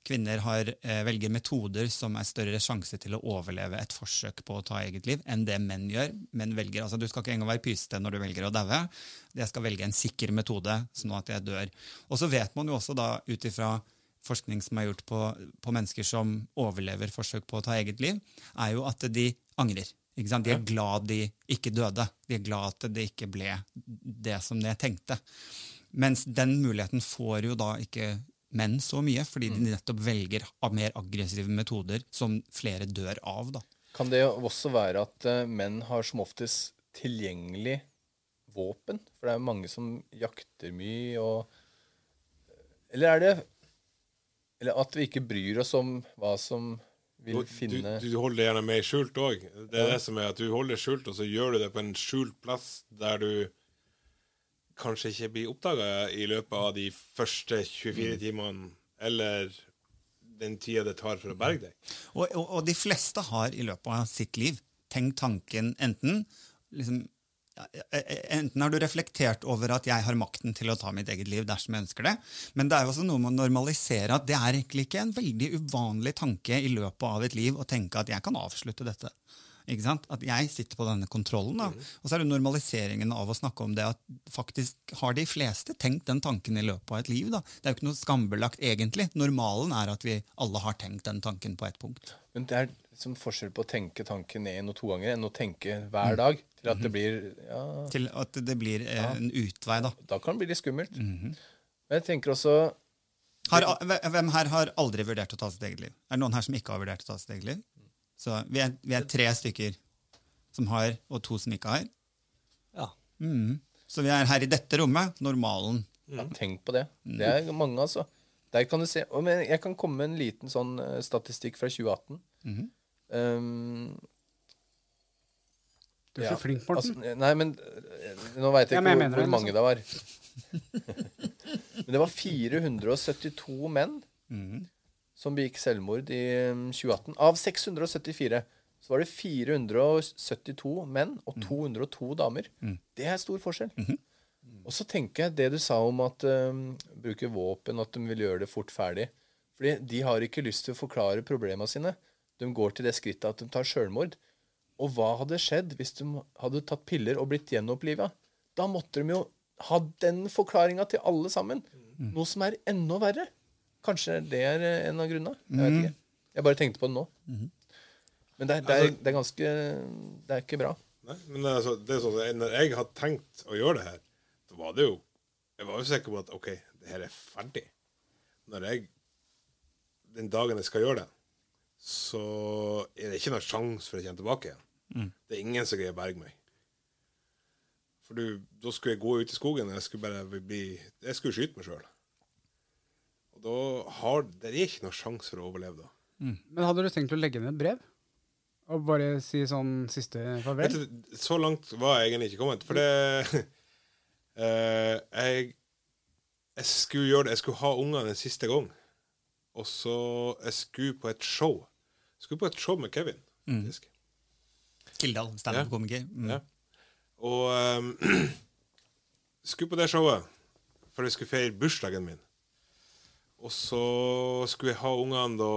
S6: Kvinner har, eh, velger metoder som er større sjanse til å overleve et forsøk på å ta eget liv, enn det menn gjør. Menn velger, altså Du skal ikke engang være pysete når du velger å daue. Jeg skal velge en sikker metode, sånn at jeg dør. Og så vet man jo også da, ut ifra forskning som er gjort på, på mennesker som overlever forsøk på å ta eget liv, er jo at de angrer. Ikke sant? De er glad de ikke døde. De er glad at det ikke ble det som de tenkte. Mens den muligheten får jo da ikke menn så mye, fordi de nettopp velger av mer aggressive metoder som flere dør av. da.
S3: Kan det jo også være at eh, menn har som oftest tilgjengelig våpen? For det er mange som jakter mye og Eller er det Eller at vi ikke bryr oss om hva som vil
S5: Og
S3: finne
S5: Du, du holder det gjerne mer skjult òg. Det er det som er at du holder det skjult, og så gjør du det på en skjult plass der du kanskje ikke blir oppdaga i løpet av de første
S3: Mm.
S5: 24 timene, eller den tida det tar for å berge deg.
S6: Og, og, og de fleste har i løpet av sitt liv tenkt tanken enten liksom, ja, e, Enten har du reflektert over at jeg har makten til å ta mitt eget liv dersom jeg ønsker det, men det er jo også noe med å normalisere at det er egentlig ikke en veldig uvanlig tanke i løpet av et liv å tenke at jeg kan avslutte dette. Ikke sant? At jeg sitter på denne kontrollen. Da. Og så er det normaliseringen av å snakke om det at faktisk har de fleste tenkt den tanken i løpet av et liv. Da. Det er jo ikke noe skambelagt egentlig. Normalen er at vi alle har tenkt den tanken på et punkt.
S3: Men det er liksom forskjell på å tenke tanken én og to ganger enn å tenke
S5: Mm.
S3: hver dag. Til
S5: Mm-hmm.
S3: at det blir Ja,
S6: Til at det blir eh, en utvei, da.
S3: da kan det bli litt skummelt.
S5: Mm-hmm.
S3: Men jeg tenker også
S6: Har, hvem her har aldri vurdert å ta sitt eget liv? Er det noen her som ikke har vurdert å ta sitt eget liv? Så vi er, vi er tre stykker som har, og to som ikke har. Mm.
S4: Ja.
S6: Så vi er her i dette rommet. Normalen.
S3: Ja, tenk på det. Det er mange, altså. Der kan du se. Og men jeg kan komme med en liten sånn eh, statistikk fra 2018.
S2: Mhm.
S3: um,
S2: Du er så flink, Morten.
S3: Altså, nei, men eh, nå veit jeg
S2: Ja,
S3: ikke
S2: men jeg
S3: hvor,
S2: mener
S3: hvor
S2: det, liksom.
S3: mange det var. men det var 472 menn
S2: Mhm.
S3: som begikk selvmord i um, 2018. Av 674 så var det 472 menn og
S2: Mhm.
S3: 202 damer.
S2: Mm.
S3: Det er stor forskjell. Og så tenker jeg det du sa om at um, bruke våpen, at de vil gjøre det fort ferdig. Fordi de har ikke lyst til å forklare problemene sine. De går til det skrittet at de tar sjølmord. Og hva hadde skjedd hvis de hadde tatt piller og blitt gjenoppliva? Da måtte de jo ha den forklaringa til alle sammen. Noe som er enda verre. Kanskje det er eh, en av grunnene. Jeg vet ikke. Jeg bare tenkte på det nå. Men det er, det, er, det er ganske Det er ikke bra.
S5: Nei, men det er altså, det er sånn, at når jeg hadde tenkt å gjøre det her, så var det jo Jeg var jo sikker på at OK, det her er ferdig. Når jeg Den dagen jeg skal gjøre det, så er det ikke noen sjanse for å komme tilbake igjen. Det er ingen som greier å berge meg. For du, da skulle jeg gå ut i skogen, og jeg skulle bare bli Jeg skulle skyte meg sjøl. Og da har Det er ikke noen sjanse for å overleve da.
S2: Men hadde du tenkt å legge ned et brev? Og bare si sånn siste farvel?
S5: Vet du, så langt var jeg egentlig ikke kommet. For det eh, jeg, jeg skulle gjøre det Jeg skulle ha ungene en siste gang. Og så Jeg skulle på et show. Jeg skulle på et show med Kevin. faktisk.
S6: Kildahl, standup-komiker. Mm.
S5: Ja. Og ehm, skulle på det showet, for jeg skulle feire bursdagen min. Og så skulle jeg ha ungene da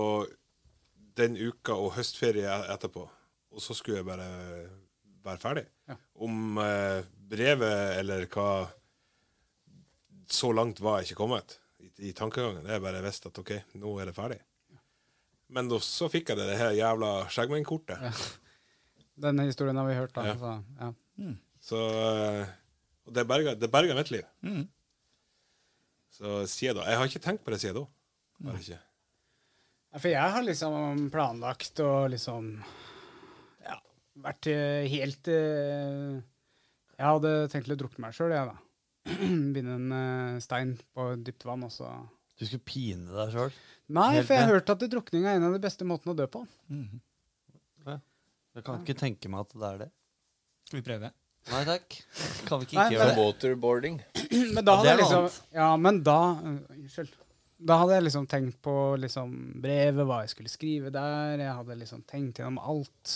S5: den uka og høstferie e-, etterpå. Og så skulle jeg bare være ferdig. Om eh, brevet eller hva Så langt var jeg ikke kommet i, i tankegangen. Jeg bare visste at OK, nå er det ferdig. Men da, så fikk jeg det, det her jævla skjeggmennkortet.
S2: Denne historien har vi hørt, da.
S5: Ja.
S2: Så, ja.
S5: Så eh, Og det berga, det berga mitt liv. Så siden da Jeg har ikke tenkt på det siden da. Bare ikke.
S2: Ja, For jeg har liksom planlagt og liksom ja, vært eh, helt eh, Jeg hadde tenkt til å drukne meg sjøl, jeg, da. Binde en eh, stein på dypt vann, og så
S4: Du skulle pine deg sjøl.
S2: Nei,
S4: Helt
S2: for jeg har
S4: ned.
S2: hørt at drukning er en av de beste måtene å dø på.
S4: Jeg kan ikke tenke meg at det er det.
S6: Skal vi prøve?
S4: Nei takk. Kan vi ikke
S2: Nei,
S4: ikke gjøre det?
S3: Waterboarding.
S2: Men da hadde
S4: Ja, det
S2: jeg
S4: er noe
S2: liksom Ja, men da øh, Unnskyld. Da hadde jeg liksom tenkt på liksom brevet, hva jeg skulle skrive der. Jeg hadde liksom tenkt gjennom alt.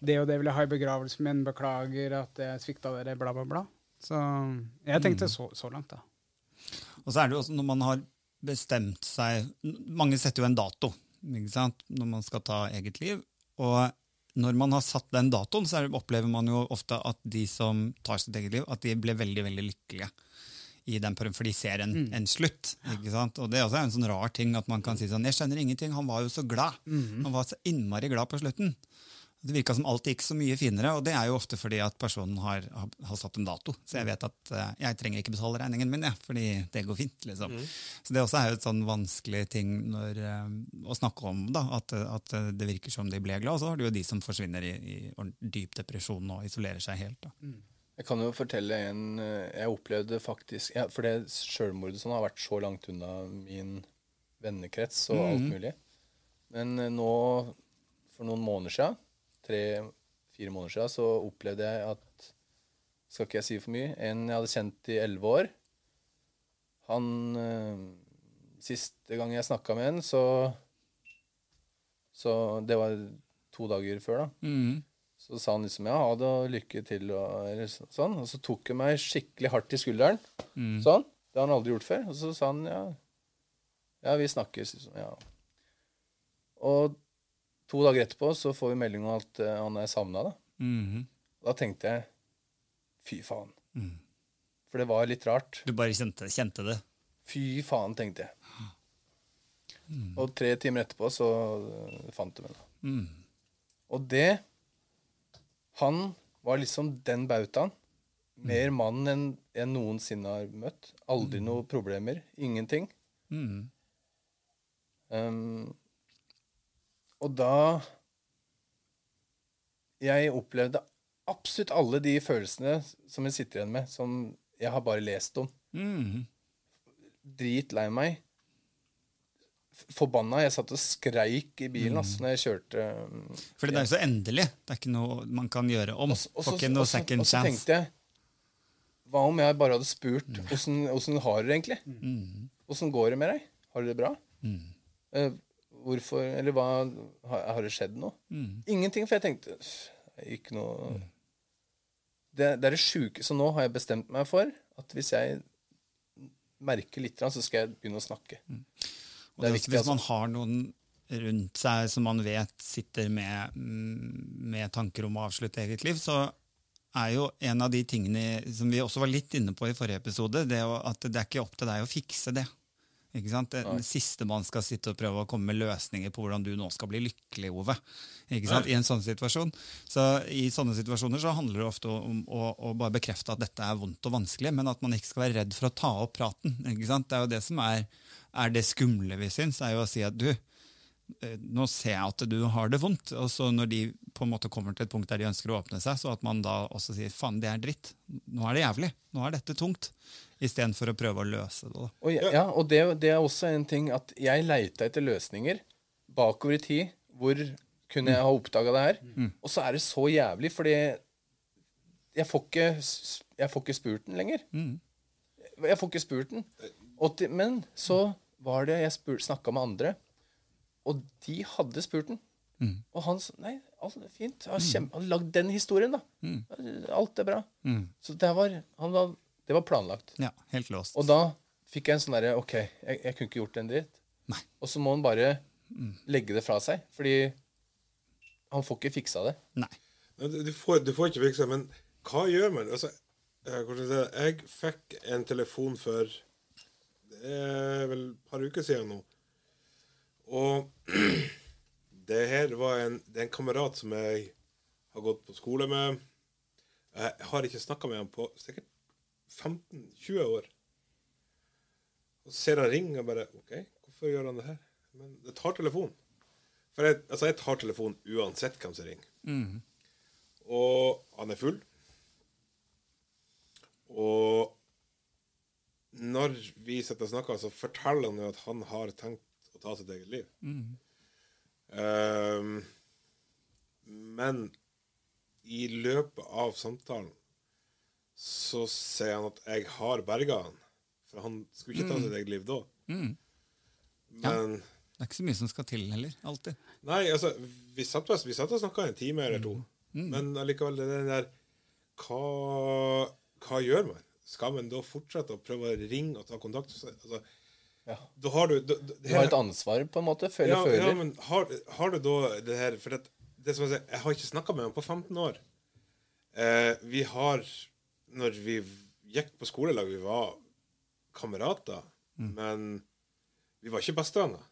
S2: Det og det vil jeg ha i begravelsen min. Beklager at jeg svikta dere, bla, bla, bla. Så jeg tenkte
S4: Mm.
S2: så, så langt, da.
S6: Og så er det jo også når man har bestemt seg Mange setter jo en dato ikke sant? når man skal ta eget liv. Og når man har satt den datoen, så er det, opplever man jo ofte at de som tar sitt eget liv, at de ble veldig veldig lykkelige. I den perioden, for de ser en, en slutt. ikke sant? Og Det er også en sånn rar ting at man kan si sånn 'Jeg skjønner ingenting. Han var jo så glad.' Han var så innmari glad på slutten. Det virka som alt gikk så mye finere, og det er jo ofte fordi at personen har, har, har satt en dato. Så jeg vet at eh, jeg trenger ikke betale regningen min, jeg, fordi det går fint. liksom. Så det også er jo et sånn vanskelig ting når, eh, å snakke om, da, at, eh, at eh, det virker som de ble glad, og så har du jo de som forsvinner i, i ord- dyp depresjon og isolerer seg helt. da.
S3: Jeg kan jo fortelle en eh, Jeg opplevde faktisk ja, For det sjølmordet sånn har vært så langt unna min vennekrets og alt mulig. Men eh, nå, for noen måneder siden, tre-fire måneder siden, så opplevde jeg at skal ikke jeg si for mye, en jeg hadde kjent i elleve år. Han eh, Siste gang jeg snakka med en, så Så det var to dager før, da.
S6: Mm.
S3: Så sa han liksom ja, ha det og lykke til og eller så- sånn. Og så tok han meg skikkelig hardt i skulderen. Sånn. Det har han aldri gjort før. Og så sa han ja, ja vi snakkes. Liksom, ja. Og to dager etterpå så får vi melding om at eh, han er savna, da.
S6: Mhm.
S3: Da tenkte jeg fy faen. For det var litt rart.
S6: Du bare kjente, kjente det.
S3: Fy faen, tenkte jeg. Og tre timer etterpå så øh, fant de henne. Og det Han var liksom den bautaen. Mer mann enn jeg noensinne har møtt. Aldri noe problemer. Ingenting.
S6: Mm.
S3: Um, og da Jeg opplevde absolutt alle de følelsene som jeg sitter igjen med, som jeg har bare lest om.
S6: Mm.
S3: dritlei meg. F- Forbanna. Jeg satt og skreik i bilen
S6: Mm.
S3: ass, når jeg kjørte. um,
S6: Fordi det er jo så endelig. Det er ikke noe man kan gjøre
S3: og
S6: om. Får
S3: så-
S6: ikke noe
S3: og så-
S6: second
S3: og så
S6: chance. Mm.
S3: tenkte jeg Hva om jeg bare hadde spurt åssen åssen har du det egentlig? Åssen går det med deg? Har du det bra?
S6: Mm.
S3: Eh, hvorfor Eller hva Har, har det skjedd noe?
S6: Mm.
S3: Ingenting, for jeg tenkte "Pff, Ikke noe det, det er det sjuke. Så nå har jeg bestemt meg for at hvis jeg merker litt, så skal jeg begynne å snakke.
S6: Og det er
S3: viktig,
S6: viktig, altså. Hvis man har noen rundt seg som man vet sitter med, mm, med tanker om å avslutte eget liv, så er jo en av de tingene som vi også var litt inne på i forrige episode, det er jo at det er ikke opp til deg å fikse det. Ikke sant? Det det siste man skal sitte og prøve å komme med løsninger på hvordan du nå skal bli lykkelig, Ove. Ikke sant? I en sånn situasjon. Så I sånne situasjoner så handler det ofte om å, å bare bekrefte at dette er vondt og vanskelig, men at man ikke skal være redd for å ta opp praten. Ikke sant? Det er jo det som er, er det skumle vi syns, er jo å si at du, eh, nå ser jeg at du har det vondt. Og så når de på en måte kommer til et punkt der de ønsker å åpne seg, så at man da også sier faen, det er dritt. Nå er det jævlig. Nå er dette tungt. Istedenfor å prøve å løse det. da.
S3: Og, jeg, ja, og det, det er også en ting at jeg leita etter løsninger bakover i tid. Hvor kunne jeg ha oppdaga det her? Og så er det så jævlig, fordi jeg får ikke, s- jeg får ikke spurt den lenger. Jeg får ikke spurt den. Og til, men så var det jeg snakka med andre, og de hadde spurt den. Og han sa nei, alt er fint. Han har kjempe- han har lagd den historien, da. Alt er bra. Så det var, han var, det var planlagt.
S6: Ja, helt låst.
S3: Og da fikk jeg en sånn derre Ok, jeg, jeg kunne ikke gjort en dritt.
S6: Nei.
S3: Og så må han bare legge det fra seg, fordi han får ikke fiksa det.
S6: Nei.
S5: Nei, Du du får, du får ikke fiksa, men hva gjør man? Altså, eh, hvordan skal jeg, si det? jeg fikk en telefon for det er vel et par uker siden nå. Og det her var en, det er en kamerat som jeg har gått på skole med. Jeg har ikke snakka med ham på sikkert 15-20 år. Og så ser han ringe og bare OK, hvorfor gjør han det her? Men jeg tar telefonen. For jeg, altså, jeg tar telefonen uansett hvem som ringer. Og han er full. Og når vi sitter og snakker, så forteller han jo at han har tenkt å ta sitt eget liv. Ehm, men i løpet av samtalen så sier han at 'jeg har berga han'. For han skulle ikke ta sitt eget liv da. Men
S6: Det er ikke så mye som skal til heller. Alltid.
S5: Nei, altså, vi satt, og- vi satt og snakka en time eller to.
S3: Mm.
S5: Men allikevel, det er den der hva, hva gjør man? Skal man da fortsette å prøve å ringe og ta kontakt? Så- Altså,
S3: Ja.
S5: Da har du da, da,
S3: Du har et ansvar, på en måte, før
S5: ja,
S3: jeg føler.
S5: ja, men har, har du da det her For det, det som jeg sier, jeg har ikke snakka med ham på 15 år. Eh, vi har Når vi gikk på skolelag, vi var kamerater,
S3: Mm.
S5: men vi var ikke bestevenner.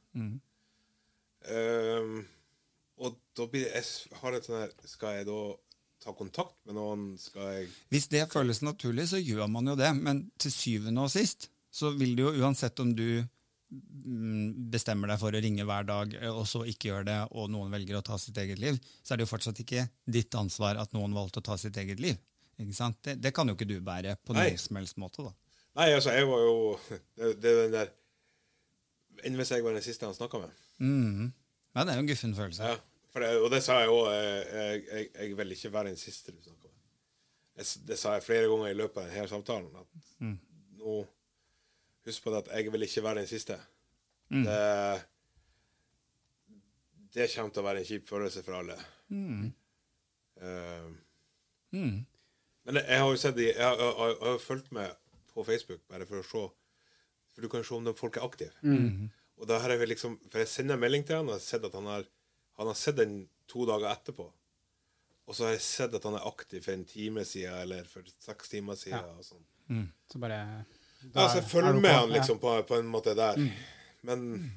S5: Ehm, og da blir det jeg s- har et sånn her Skal jeg da ta kontakt med noen? Skal jeg
S6: Hvis det føles naturlig, så gjør man jo det. Men til syvende og sist så vil det jo uansett om du mm, bestemmer deg for å ringe hver dag, eh, og så ikke gjør det, og noen velger å ta sitt eget liv, så er det jo fortsatt ikke ditt ansvar at noen valgte å ta sitt eget liv. Ikke sant? Det, det kan jo ikke du bære på
S5: Nei.
S6: noen som helst måte. da.
S5: Nei, altså, jeg var jo Det, det er jo den der Enn hvis jeg var den siste han snakka med?
S6: Mhm. Ja, det er jo en guffen følelse.
S5: eh, Ja, for det, og det sa jeg òg. Jeg, jeg, jeg vil ikke være den siste du snakker med. jeg, s- det sa jeg flere ganger i løpet av denne samtalen, at nå Husk på det at jeg vil ikke være den siste. Det, det kommer til å være en kjip følelse for alle. Eh, Men jeg har jo sett de, jeg, har- jeg, har- jeg har jo fulgt med på Facebook bare for å se For du kan se om de folk er aktive. Og da har jeg vel liksom For jeg sender en melding til han og jeg har sett at han har Han har sett den to dager etterpå. Og så har jeg sett at han er aktiv for en time siden eller for seks timer siden. Og sånn.
S2: Så bare da
S5: Altså, jeg
S2: er-
S5: følger
S2: er du
S5: med
S2: på. Mm.
S5: han liksom på, på en måte der. Men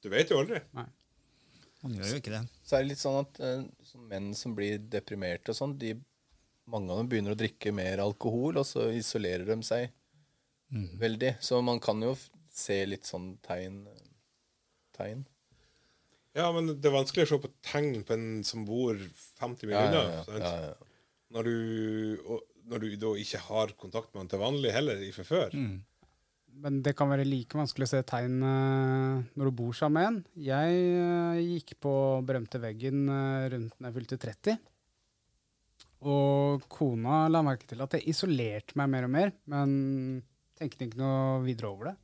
S5: du vet jo aldri.
S2: Ja. Nei.
S6: Han gjør jo ikke det.
S3: Så er det litt sånn at eh, sånn menn som blir deprimerte og sånn, de, mange av dem begynner å drikke mer alkohol, og så isolerer de seg veldig. Så man kan jo f- se litt sånn tegn. tegn.
S5: Ja, men det er vanskelig å se på tegn på en som bor 50
S3: Ja,
S5: millioner.
S3: ja, ja,
S5: sant?
S3: ja, ja.
S5: Når, du, og, når du da ikke har kontakt med han til vanlig heller fra
S2: Mm.
S5: før.
S2: Men det kan være like vanskelig å se tegn eh, når du bor sammen med en. Jeg eh, gikk på berømte veggen eh, rundt da jeg fylte 30. Og kona la merke til at jeg isolerte meg mer og mer, men tenkte ikke noe videre over det.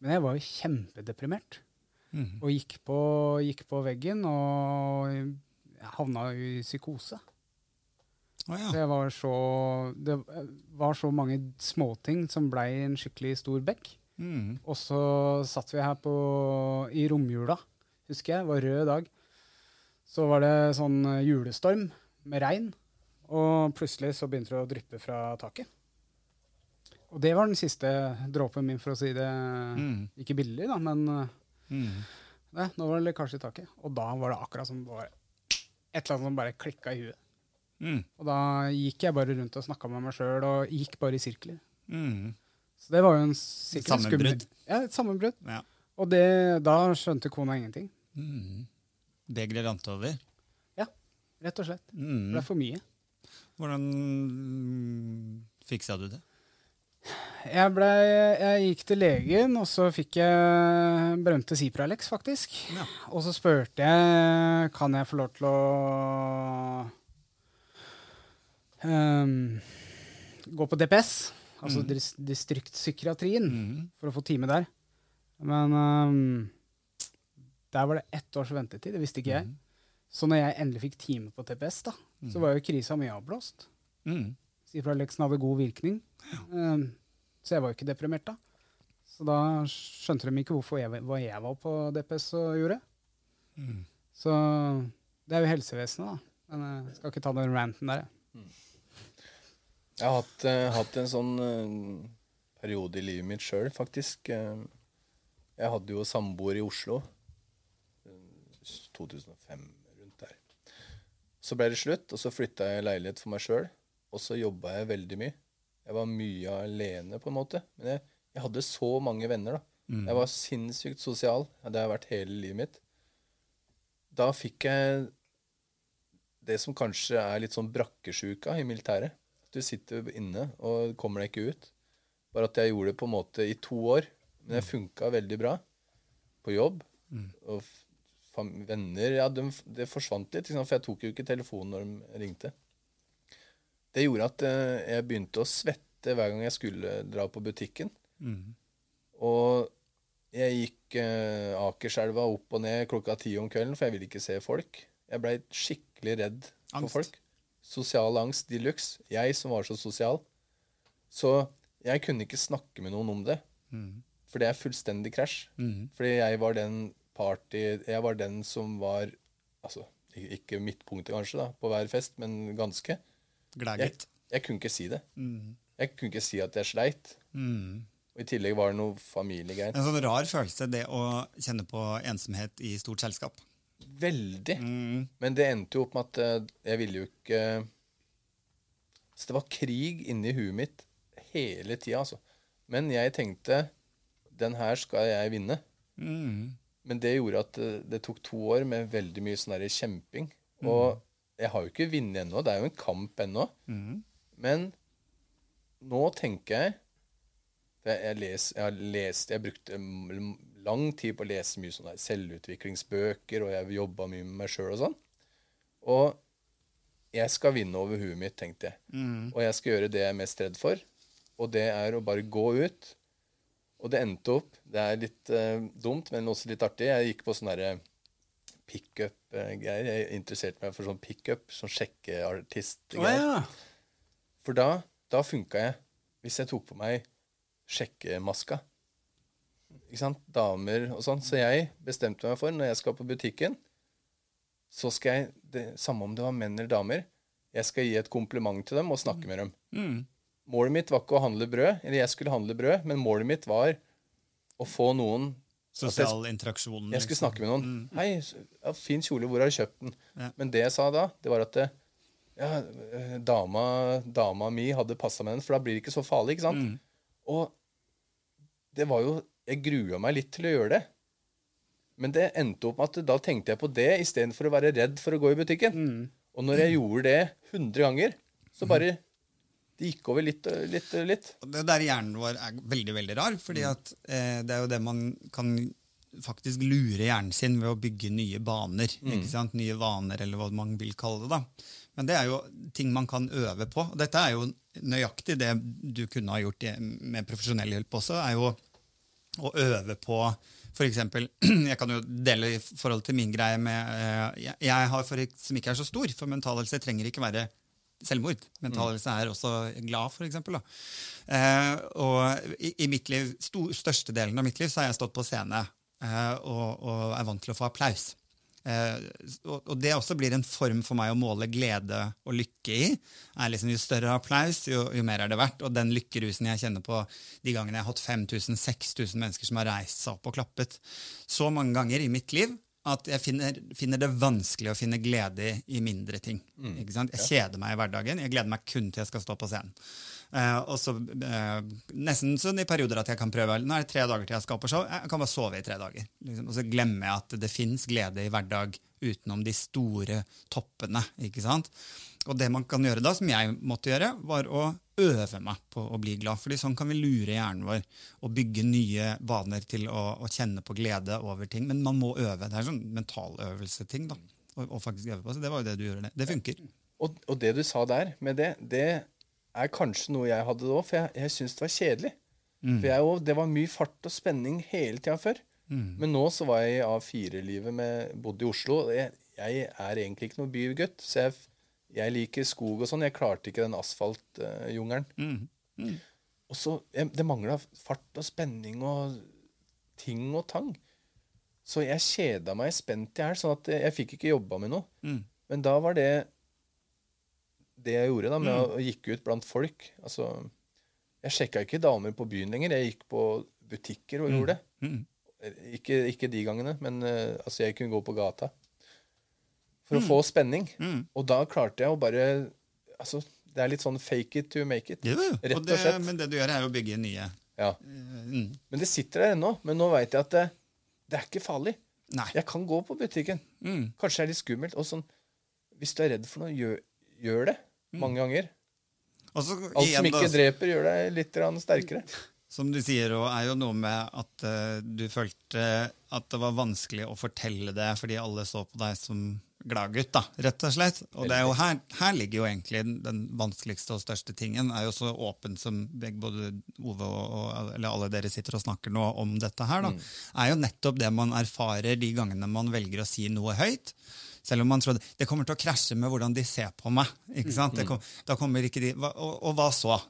S2: Men jeg var jo kjempedeprimert. Og gikk på, gikk på veggen, og jeg havna jo i psykose.
S6: Å ja.
S2: Det var så, det var så mange småting som blei en skikkelig stor bekk.
S6: Mm.
S2: Og så satt vi her på, i romjula, husker jeg. Det var rød dag. Så var det sånn eh, julestorm med regn. Og plutselig så begynte det å dryppe fra taket. Og det var den siste dråpen min, for å si det
S6: Mm.
S2: ikke billig, da, men eh,
S6: Mm.
S2: nei, nå var det lekkasje i taket. Og da var det akkurat som det var et eller annet som bare klikka i huet.
S6: Mm.
S2: Og da gikk jeg bare rundt og snakka med meg sjøl, og gikk bare i sirkler.
S6: Mm.
S2: Så det var jo en sikkert en skummel-
S6: Sammenbrudd.
S2: Ja, et sammenbrudd.
S6: Ja.
S2: Og det, da skjønte kona ingenting,
S6: Mm. Begeret rant over.
S2: rett og slett. Det
S6: Mm.
S2: ble for mye.
S6: Hvordan mm, fiksa du det?
S2: Jeg, ble, jeg gikk til legen, og så fikk jeg berømte Cipralex, faktisk.
S6: Ja.
S2: Og så spurte jeg kan jeg få lov til å ehm, gå på DPS, altså dis distriktspsykiatrien, for å få time der. Men ehm, der var det ett års ventetid, det visste ikke jeg. Så når jeg endelig fikk time på TPS, da, så var jo krisa mye avblåst.
S6: Mm.
S2: Cipralexen hadde god virkning. Eh, Så jeg var jo ikke deprimert da. Så da skjønte de ikke hvorfor jeg, hva jeg var på DPS og gjorde. Så det er jo helsevesenet, da. Men jeg skal ikke ta den ranten der. jeg.
S3: Jeg har hatt, eh, hatt en sånn eh, periode i livet mitt sjøl, faktisk. Eh, jeg hadde jo samboer i Oslo. eh, 2005, rundt der. Så ble det slutt, og så flytta jeg i leilighet for meg sjøl. Og så jobba jeg veldig mye. Jeg var mye alene, på en måte. Men jeg, jeg hadde så mange venner, da. Jeg var sinnssykt sosial. Det har jeg vært hele livet mitt. Da fikk jeg det som kanskje er litt sånn brakkesjuka i militæret. Du sitter inne og kommer deg ikke ut. Bare at jeg gjorde det på en måte i to år. Men det funka veldig bra på jobb. Og f- fam- venner ja, de, f- Det forsvant litt, ikke sant, for jeg tok jo ikke telefonen når de ringte. Det gjorde at eh, jeg begynte å svette hver gang jeg skulle dra på butikken. Og jeg gikk eh, Akerselva opp og ned klokka ti om kvelden, for jeg ville ikke se folk. Jeg blei skikkelig redd
S6: Angst.
S3: for folk. Sosial angst de luxe. Jeg som var så sosial. Så jeg kunne ikke snakke med noen om det. For det er fullstendig krasj. Fordi jeg var den party Jeg var den som var Altså, ik- ikke midtpunktet kanskje, da, på hver fest, men ganske. Jeg,
S6: Glæget.
S3: jeg kunne ikke si det. Jeg kunne ikke si at jeg sleit. Og i tillegg var det noe familiegreier.
S6: En sånn rar følelse, det å kjenne på ensomhet i stort selskap.
S3: Veldig. Men det endte jo opp med at eh, jeg ville jo ikke eh, Så det var krig inni huet mitt hele tida, altså. Men jeg tenkte den her skal jeg vinne. Men det gjorde at eh, det tok to år med veldig mye sånn der kjemping. Og jeg har jo ikke vunnet ennå. Det er jo en kamp ennå. Men nå tenker jeg for jeg, jeg, les, jeg har lest Jeg brukte m- lang tid på å lese mye sånne her selvutviklingsbøker, og jeg jobba mye med meg sjøl og sånn. Og Jeg skal vinne over huet mitt, tenkte jeg. Og jeg skal gjøre det jeg er mest redd for, og det er å bare gå ut. Og det endte opp Det er litt eh, dumt, men også litt artig. Jeg gikk på sånn derre pickup-greier. eh, Jeg interesserte meg for sånn pickup, sånn sjekkeartist-greier. For da, da funka jeg. Hvis jeg tok på meg sjekkemaska. Ikke sant? Damer og sånn. Så jeg bestemte meg for, når jeg skal på butikken, så skal jeg, det, samme om det var menn eller damer, jeg skal gi et kompliment til dem og snakke med dem. Målet mitt var ikke å handle brød, eller jeg skulle handle brød, men målet mitt var å få noen
S6: Sosial interaksjon.
S3: jeg skulle
S6: liksom.
S3: snakke med noen. 'Hei, s- ja, fin kjole. Hvor har du kjøpt den?' Men det jeg sa da, det var at eh, ja, eh, dama, dama mi hadde passa med den, for da blir det ikke så farlig, ikke sant? Og det var jo Jeg grua meg litt til å gjøre det. Men det endte opp med at da tenkte jeg på det istedenfor å være redd for å gå i butikken. Og når jeg gjorde det 100 ganger, så bare Det gikk over litt og litt og litt.
S6: Og Det der hjernen vår er veldig, veldig rar, fordi
S3: Mm.
S6: at eh, det er jo det man kan faktisk lure hjernen sin ved å bygge nye baner.
S3: Mm.
S6: ikke sant? Nye vaner, eller hva man vil kalle det. da. Men det er jo ting man kan øve på. Og dette er jo nøyaktig det du kunne ha gjort i- med profesjonell hjelp også. er jo å øve på for eksempel, Jeg kan jo dele i forhold til min greie med eh, jeg- Jeg har for, ek- som ikke er så stor, for mental helse trenger ikke være selvmord. Mental helse er også glad, for eksempel. Da. Eh, og i, i mitt liv, stor, største delen av mitt liv så har jeg stått på scene eh, og, og er vant til å få applaus. Eh, og, og det også blir en form for meg å måle glede og lykke i. Er liksom Jo større applaus, jo, jo mer er det verdt. Og den lykkerusen jeg kjenner på de gangene jeg har hatt 5000-6000 mennesker som har reist seg opp og klappet så mange ganger i mitt liv at jeg finner, finner det vanskelig å finne glede i, i mindre ting. Ikke sant? Jeg kjeder meg i hverdagen. Jeg gleder meg kun til jeg skal stå på scenen. Eh, og så eh, Nesten sånn i perioder at jeg kan prøve Nå er det tre dager til jeg skal på show. Jeg kan bare sove i tre dager. Liksom. Og så glemmer jeg at det fins glede i hverdag utenom de store toppene. ikke sant? Og det man kan gjøre da, som jeg måtte gjøre, var å øve meg på å bli glad. Fordi sånn kan vi lure hjernen vår og bygge nye vaner til å, å kjenne på glede over ting. Men man må øve. Det er sånn mentaløvelseting. da. Og, og faktisk øve på. Så det var jo det du gjorde. Det, det funker.
S3: Og, og det du sa der, med det, det er kanskje noe jeg hadde da òg, for jeg, jeg syns det var kjedelig. For jeg, jo- det var mye fart og spenning hele tida før. Men nå så var jeg i A4-livet, med- bodde i Oslo. og Jeg, jeg er egentlig ikke noe bygutt, så jeg, jeg liker skog og sånn. Jeg klarte ikke den asfaltjungelen. Og så, jeg, Det mangla fart og spenning og ting og tang. Så jeg kjeda meg spent i hæl, sånn at jeg fikk ikke jobba med noe.
S6: Mm.
S3: Men da var det det jeg gjorde da, med
S6: Mm.
S3: å- å gikk ut blant folk. Altså, jeg sjekka ikke damer på byen lenger. Jeg gikk på butikker
S6: Mm.
S3: og gjorde det. Ikke, ikke de gangene, men eh, altså, jeg kunne gå på gata. For
S6: Mm.
S3: å få spenning. Og da klarte jeg å bare altså, Det er litt sånn fake it to make it.
S6: Jo, jo.
S3: Rett
S6: Og det,
S3: og slett.
S6: men det du gjør, er jo å bygge nye eh, mm.
S3: Ja. Men det sitter der ennå. Men nå veit jeg at det, det er ikke farlig.
S6: Nei.
S3: Jeg kan gå på butikken. Kanskje det er litt skummelt. Og sånn, hvis du er redd for noe, gjør, gjør det. Mange ganger.
S6: Og så
S3: Alt
S6: igjen
S3: som
S6: da,
S3: ikke dreper, gjør deg litt grann sterkere.
S6: Som du sier, og er jo noe med at eh, du følte at det var vanskelig å fortelle det fordi alle så på deg som gladgutt, da, rett og slett. Og det er jo her, her ligger jo egentlig den, den vanskeligste og største tingen. er jo så åpen som begge- både Ove og, og eller alle dere sitter og snakker nå om dette her,
S3: Mm.
S6: da. er jo nettopp det man erfarer de gangene man velger å si noe høyt. Selv om man trodde det kommer til å krasje med hvordan de ser på meg.
S3: Mm,
S6: ikke sant? Det kom, da kommer ikke de, hva, og, og hva så?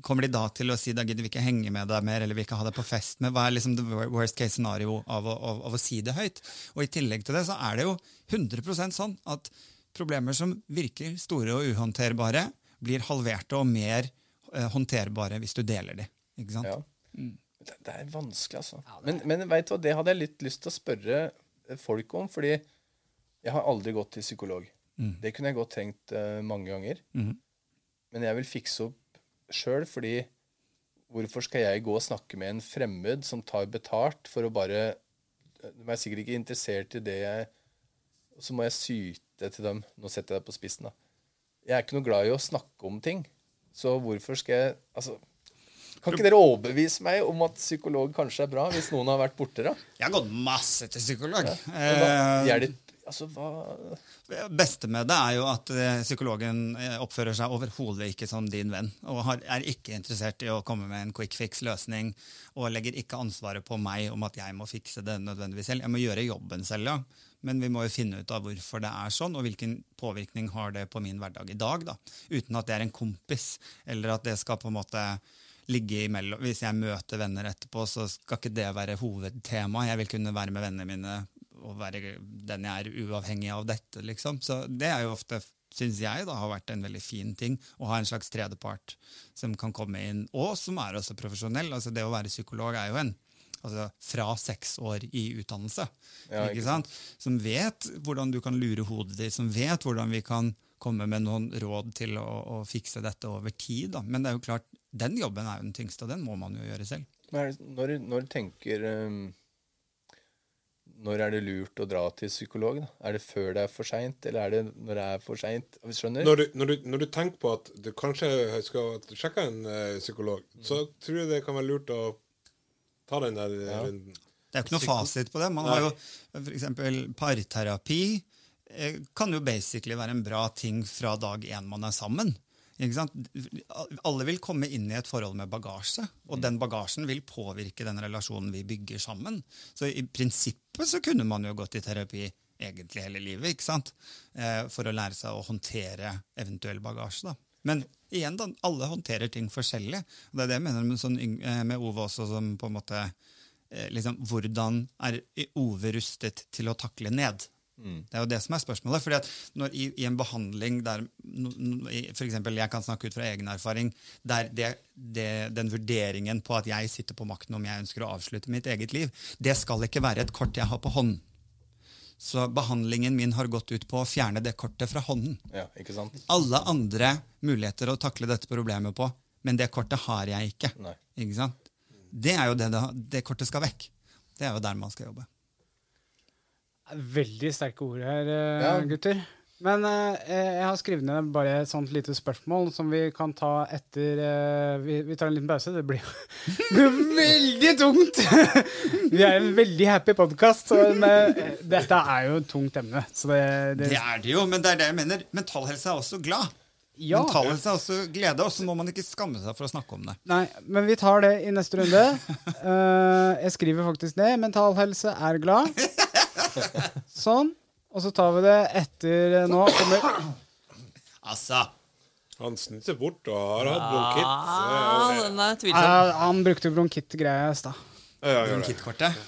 S6: Kommer de da til å si da gidder vi ikke henge med deg mer, eller vi ikke ha deg på fest med? Hva er liksom the wor- worst case scenario av å, av, av å si det høyt? Og i tillegg til det så er det jo 100 sånn at problemer som virker store og uhåndterbare, blir halverte og mer eh, håndterbare hvis du deler de. Ikke sant?
S3: Ja. Det, det er vanskelig, altså. Men, men vet du hva, det hadde jeg litt lyst til å spørre folk om, fordi jeg har aldri gått til psykolog. Det kunne jeg godt trengt eh, mange ganger. Men jeg vil fikse opp sjøl, fordi hvorfor skal jeg gå og snakke med en fremmed som tar betalt for å bare eh, De er sikkert ikke interessert i det jeg Og så må jeg syte til dem. Nå setter jeg deg på spissen, da. Jeg er ikke noe glad i å snakke om ting. Så hvorfor skal jeg Altså, kan ikke dere overbevise meg om at psykolog kanskje er bra, hvis noen har vært borte, da?
S6: Jeg har gått masse til psykolog.
S3: Men da
S6: Eh,
S3: hjelp, Altså, hva
S6: Det beste med det er jo at eh, psykologen eh, oppfører seg overhodet ikke som din venn, og har, er ikke interessert i å komme med en quick fix-løsning, og legger ikke ansvaret på meg om at jeg må fikse det nødvendigvis selv. Jeg må gjøre jobben selv, ja. Men vi må jo finne ut av hvorfor det er sånn, og hvilken påvirkning har det på min hverdag i dag, da. Uten at det er en kompis, eller at det skal på en måte ligge imellom. Hvis jeg møter venner etterpå, så skal ikke det være hovedtema. Jeg vil kunne være med vennene mine og være den jeg er, uavhengig av dette, liksom. Så det er jo ofte, syns jeg, da, har vært en veldig fin ting. Å ha en slags tredjepart som kan komme inn, og som er også profesjonell. Altså det å være psykolog er jo en Altså fra seks år i utdannelse.
S3: Ja,
S6: ikke
S3: ikke
S6: sant? Som vet hvordan du kan lure hodet ditt, som vet hvordan vi kan komme med noen råd til å, å fikse dette over tid. Da. Men det er jo klart, den jobben er jo den tyngste, og den må man jo gjøre selv.
S3: hva er det- når, når tenker ehm, Når er det lurt å dra til psykolog? Da? Er det før det er for seint, eller er det når det er for seint? Skjønner?
S5: Når du, når, du, når du tenker på at du kanskje skal sjekke en eh, psykolog, så tror jeg det kan være lurt å ta den der eh, runden.
S6: Det er jo ikke noe fasit på det. Man har jo f.eks. parterapi. eh, Kan jo basically være en bra ting fra dag én man er sammen. Ikke sant? Alle vil komme inn i et forhold med bagasje, og den bagasjen vil påvirke den relasjonen vi bygger sammen. Så i prinsippet så kunne man jo gått i terapi egentlig hele livet, ikke sant? Eh, For å lære seg å håndtere eventuell bagasje. da. Men igjen, da, alle håndterer ting forskjellig. Og det er det jeg mener med, sånn, yng- eh, med Ove også, som på en måte eh, liksom, Hvordan er Ove rustet til å takle ned? Det er jo det som er spørsmålet. fordi at når, i, I en behandling der no, no, i- for eksempel, Jeg kan snakke ut fra egen erfaring. der det, det, Den vurderingen på at jeg sitter på makten om jeg ønsker å avslutte mitt eget liv, det skal ikke være et kort jeg har på hånden. Så behandlingen min har gått ut på å fjerne det kortet fra hånden
S3: Ja, ikke sant?
S6: alle andre muligheter å takle dette problemet på, men det kortet har jeg ikke.
S3: Nei.
S6: Ikke sant? Det er jo det, det det kortet skal vekk. Det er jo der man skal jobbe.
S2: Veldig sterke ord her, eh,
S3: Ja.
S2: gutter. Men eh, jeg har skrevet ned bare et sånt lite spørsmål som vi kan ta etter eh, vi, vi tar en liten pause. Det blir jo det blir veldig tungt! vi er en veldig happy podkast, men eh, dette er jo et tungt emne. Så det, det,
S6: Det er det jo, men det er det jeg mener. Mental helse er også glad.
S2: Ja.
S6: Mental helse er også glede, og så må man ikke skamme seg for å snakke om det.
S2: Nei, men vi tar det i neste runde. Eh, jeg skriver faktisk ned. Mental helse er glad. Sånn. Og så tar vi det etter eh, nå. Kommer
S6: Altså,
S5: Han snuser bort og har hatt eh, bronkitt.
S4: den er
S2: Ja,
S4: tvilsom.
S2: han brukte bronkittgreia i stad.
S5: Ja, ja, ja, ja.
S6: Kitt-kortet.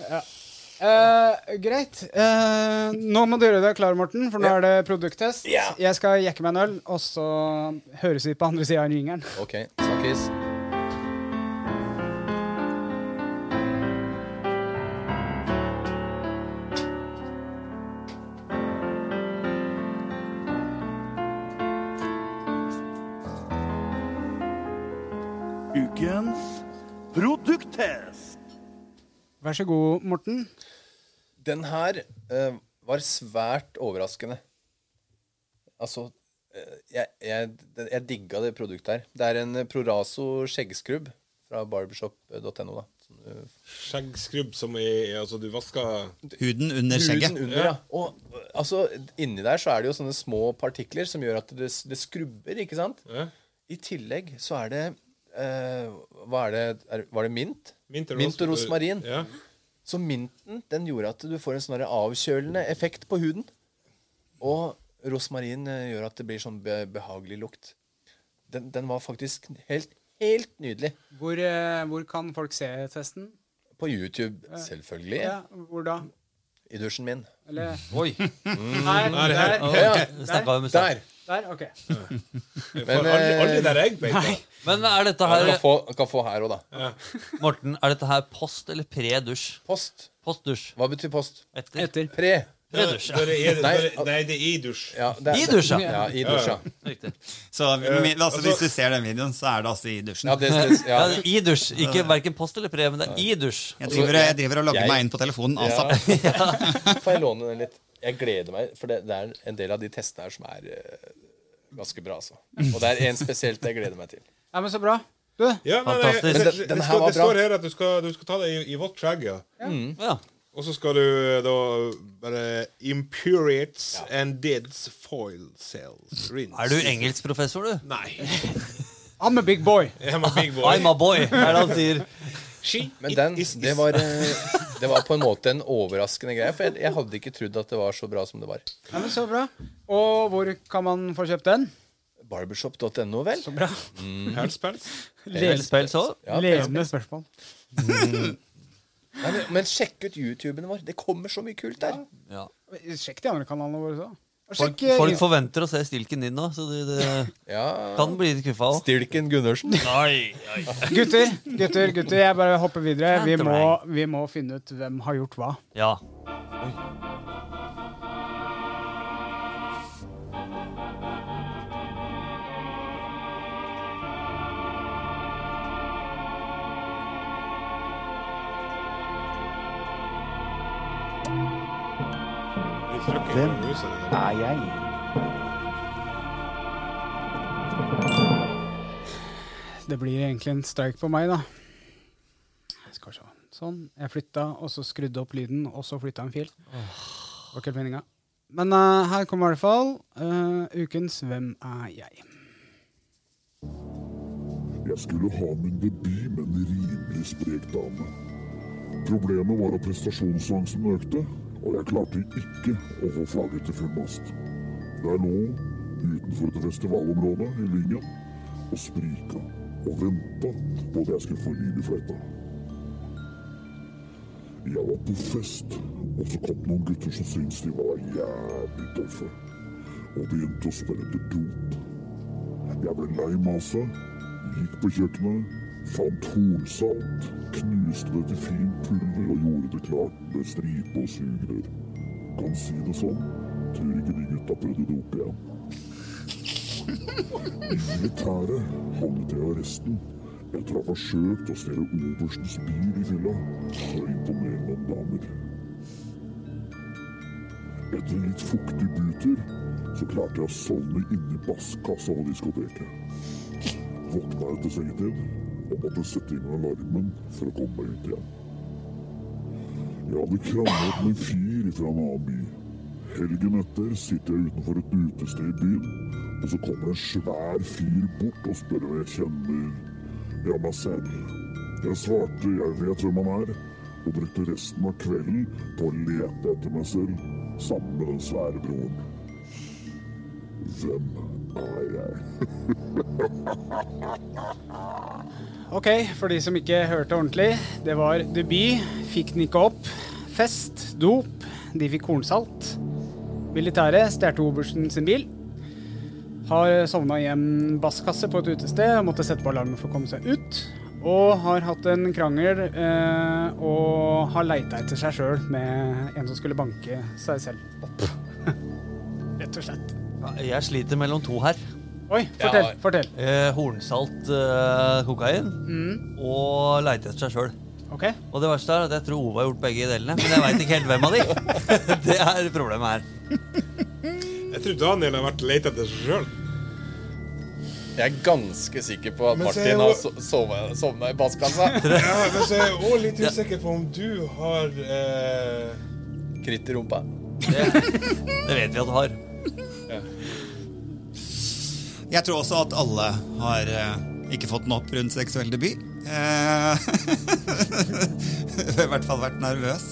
S2: Eh, greit. Eh, nå må du gjøre deg klar, Morten, for nå er det produkttest. Jeg skal jekke meg en øl, og så høres vi på andre sida av ringeren.
S3: Ok, snakkes.
S1: Ukens produkttest.
S2: Vær så god, Morten.
S3: Den her eh, var svært overraskende. Altså eh, jeg, jeg, det- jeg digga det produktet her. Det er en eh, Proraso skjeggskrubb fra barbershop.no. da Sånn, eh, Som du
S5: Skjeggskrubb som i Altså, du vasker
S6: Huden under skjegget.
S3: Huden under, ja. Og eh, altså, inni der så er det jo sånne små partikler som gjør at det, det skrubber, ikke sant?
S5: Ja.
S3: I tillegg så er det eh, Hva er det? Er, var det mint?
S5: mint og,
S3: Mint og rosmarin.
S5: Ja.
S3: Så minten den gjorde at du får en sånn der avkjølende effekt på huden. Og rosmarin eh, gjør at det blir sånn be behagelig lukt. Den, den var faktisk helt, helt nydelig.
S2: Hvor, kan folk se testen?
S3: På YouTube, selvfølgelig.
S2: Hvor da?
S3: I dusjen min.
S2: Eller
S4: Oi.
S2: Her. Der.
S3: Ja,
S4: Snakket vi om i stad.
S3: der!
S2: der. Ok.
S5: Men, aldri,
S3: eh,
S5: aldri der jeg beiter.
S4: Men er dette
S3: Du
S4: her,
S3: kan få, kan få her òg, da.
S4: Morten, er dette her post eller pre-dusj?
S3: Post.
S4: Postdusj.
S3: Hva betyr post?
S4: Etter.
S2: Etter.
S3: Pre.
S4: Pre-dusj.
S5: Når det er-
S3: Nei.
S5: når det- Nei, det er i dusj.
S3: Ja, det er-
S4: I dusja.
S3: Ja, i dusja.
S4: Riktig.
S6: Så men, altså, hvis du ser den videoen, så er det altså i dusjen.
S3: Ja, det, det,
S4: Ja,
S3: ja.
S4: det er I dusj. Ikke hverken post eller pre, men det er i dusj.
S6: Jeg driver, jeg driver og logger
S3: Jeg-
S6: meg inn på telefonen asap.
S3: Altså, Får jeg låne den litt? Jeg gleder meg, for det, det er en del av de testene her som er eh, ganske bra. Altså. Og det er en spesielt jeg gleder meg til.
S2: Ja, men så bra. Du,
S5: Ja, men,
S4: Fantastisk.
S5: eh,
S3: Men
S5: det,
S3: den-
S5: det,
S3: den her
S5: skal,
S3: var
S5: det står
S3: bra.
S5: her at du skal, du skal ta det i, i vått skjegg, ja.
S4: Ja.
S5: Og så skal du eh, da bare Impuriates and dids foil cells. Rinse.
S4: Er du engelskprofessor, du?
S5: Nei.
S2: I'm a big boy.
S5: I'm a big boy.
S4: I'm a boy, er det han sier.
S5: She
S3: Men den,
S5: is- is-
S3: det var, eh, det var på en måte en overraskende greie, for jeg, jeg hadde ikke trodd at det var så bra som det var.
S2: Ja, men Så bra. Og hvor kan man få kjøpt den?
S3: Barbershop.no, vel?
S2: Så bra.
S3: Mm.
S5: Helspels.
S4: Spill så.
S3: Ja,
S2: Levende spørsmål.
S3: Nei, men, men sjekk ut YouTuben vår. Det kommer så mye kult der.
S4: Ja.
S2: Sjekk de andre kanalene våre også. Og
S4: Folk,
S2: sjekk, eh,
S4: folk forventer å se stilken din nå, så det, det
S3: Ja.
S4: kan bli litt skuffa òg.
S3: Stilken Gundersen.
S2: Gutter, gutter, gutter, jeg bare hopper videre. Vi må, vi må finne ut hvem har gjort hva.
S4: Ja.
S5: Hvem er
S2: Det blir egentlig en streik på meg, da. Skal vi se. Sånn. Jeg flytta, og så skrudde opp lyden, og så flytta en fil. Det var ikke helt meninga. Men eh, her kommer i hvert fall eh, ukens Hvem er jeg?
S7: Jeg skulle ha min debut med en rimelig sprek dame. Problemet var at prestasjonsangsten økte, og jeg klarte ikke å få flagget til full mast. Der lå, utenfor et festivalområde i Lyngen, og sprika og venta på at jeg skulle få lyn i fletta. Jeg var på fest, og så kom det noen gutter som syntes de var jævlig tøffe, og begynte å spille etter dop. Jeg ble lei maset, gikk på kjøkkenet, fant hornsalt, knuste det til fint pulver og gjorde det klart med stripe og sugerør. Kan si det sånn, tror ikke de gutta prøvde å dope igjen. I militæret havnet jeg i arresten etter å ha forsøkt å stjele oberstens bil i fylla for å imponere noen damer. Etter en litt fuktig butur, så klarte jeg å sovne inni basskassa på diskoteket. Våkna etter sengetid og måtte sette inn alarmen for å komme meg ut igjen. Jeg hadde kranglet med en fyr fra en annen by. Helgen etter sitter jeg utenfor et utested i byen, og så kommer en svær fyr bort og spør om jeg kjenner ja, meg selv. Jeg svarte jeg vet hvem han er, og brukte resten av kvelden på å lete etter meg selv sammen med den svære broren. Hvem er jeg?
S2: Ok, for de som ikke hørte ordentlig. Det var debut, fikk den ikke opp. Fest, dop, de fikk kornsalt. Militæret stjal obersten sin bil. Har sovna i en basskasse på et utested og måtte sette på alarmen for å komme seg ut. Og har hatt en krangel eh, og har leita etter seg sjøl med en som skulle banke seg selv opp. Rett og slett.
S4: Jeg sliter mellom to her.
S2: Oi, fortell. fortell.
S4: Eh, hornsalt eh, kokain
S2: Mm.
S4: og leite etter seg sjøl.
S2: Ok?
S4: Og det verste er at jeg tror Ove har gjort begge delene, men jeg veit ikke helt hvem av de. Det er problemet her.
S5: Jeg tror Daniel har vært lett etter seg sjøl.
S3: Jeg er ganske sikker på at
S5: Men så
S3: Martin
S5: er jo-
S3: har so- sova- sovna i basskassa.
S5: Ja, men så er jeg òg litt usikker på om du har eh,
S3: Kritt i rumpa.
S4: Det vet vi at du har.
S6: Jeg tror også at alle har eh, ikke fått den opp rundt seksuell debut. Eh, I hvert fall vært nervøs.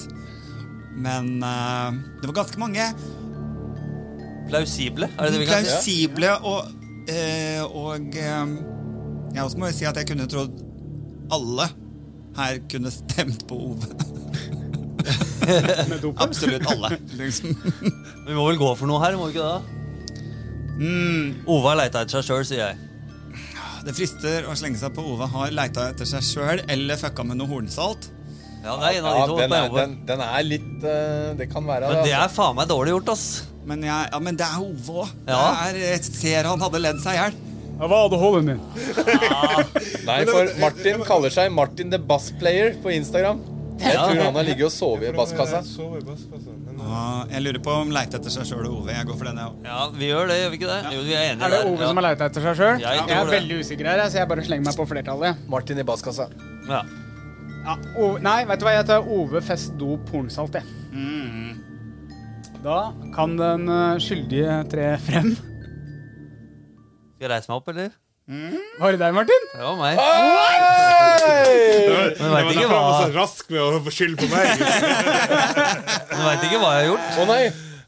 S6: Men eh, det var ganske mange
S4: Plausible, er det det vi kan si?
S6: plausible og eh, Og eh, jeg også må jo si at jeg kunne trodd alle her kunne stemt på Ove.
S2: Med dopet?
S6: Absolutt alle. Liksom.
S4: Vi må vel gå for noe her, må vi ikke det?
S6: Mm.
S4: Ove har leita etter seg sjøl, sier jeg.
S6: Det frister å slenge seg på Ove har leita etter seg sjøl eller fucka med noe hornsalt.
S4: Ja, det er en av
S3: Ja,
S4: de to.
S3: den,
S4: på
S3: er,
S4: Ove.
S3: den, den er litt eh, Det kan være
S4: Men det
S3: altså.
S4: er faen meg dårlig gjort, ass.
S6: Men, jeg, ja, men det er Ove òg.
S4: Ja.
S6: Jeg ser han hadde ledd seg i hjel.
S2: Det var ADHD-en min.
S3: Nei, for Martin kaller seg Martin the Bass Player på Instagram. Jeg tror han har ligget og sovet i basskassa.
S5: Sove eh, i basskassa. Men,
S6: Og Jeg lurer på om leite etter seg sjøl og Ove. Jeg går for den, jeg òg.
S4: Ja, vi gjør det, gjør vi ikke det? Jo, vi er enige
S2: Er det
S4: der.
S2: Ove
S4: ja.
S2: som har leita etter seg sjøl?
S4: Jeg
S2: Jeg,
S4: tror
S2: er
S4: det.
S2: veldig usikker her, så jeg bare slenger meg på flertallet.
S3: Martin i basskassa.
S4: Ja.
S2: Ja, o nei, vet du hva? Jeg tar Ove Fest Do Pornsalt, jeg.
S5: Mm.
S2: Da kan den eh, skyldige tre frem.
S4: Skal jeg reise meg opp, eller?
S2: Var det deg, Martin?
S4: Det var meg.
S2: Ah!
S5: Jeg var
S4: vet ikke
S5: derfor han var
S4: hva-
S5: så rask med å få skyld på meg. liksom.
S4: Du veit ikke hva jeg har gjort.
S3: Å nei!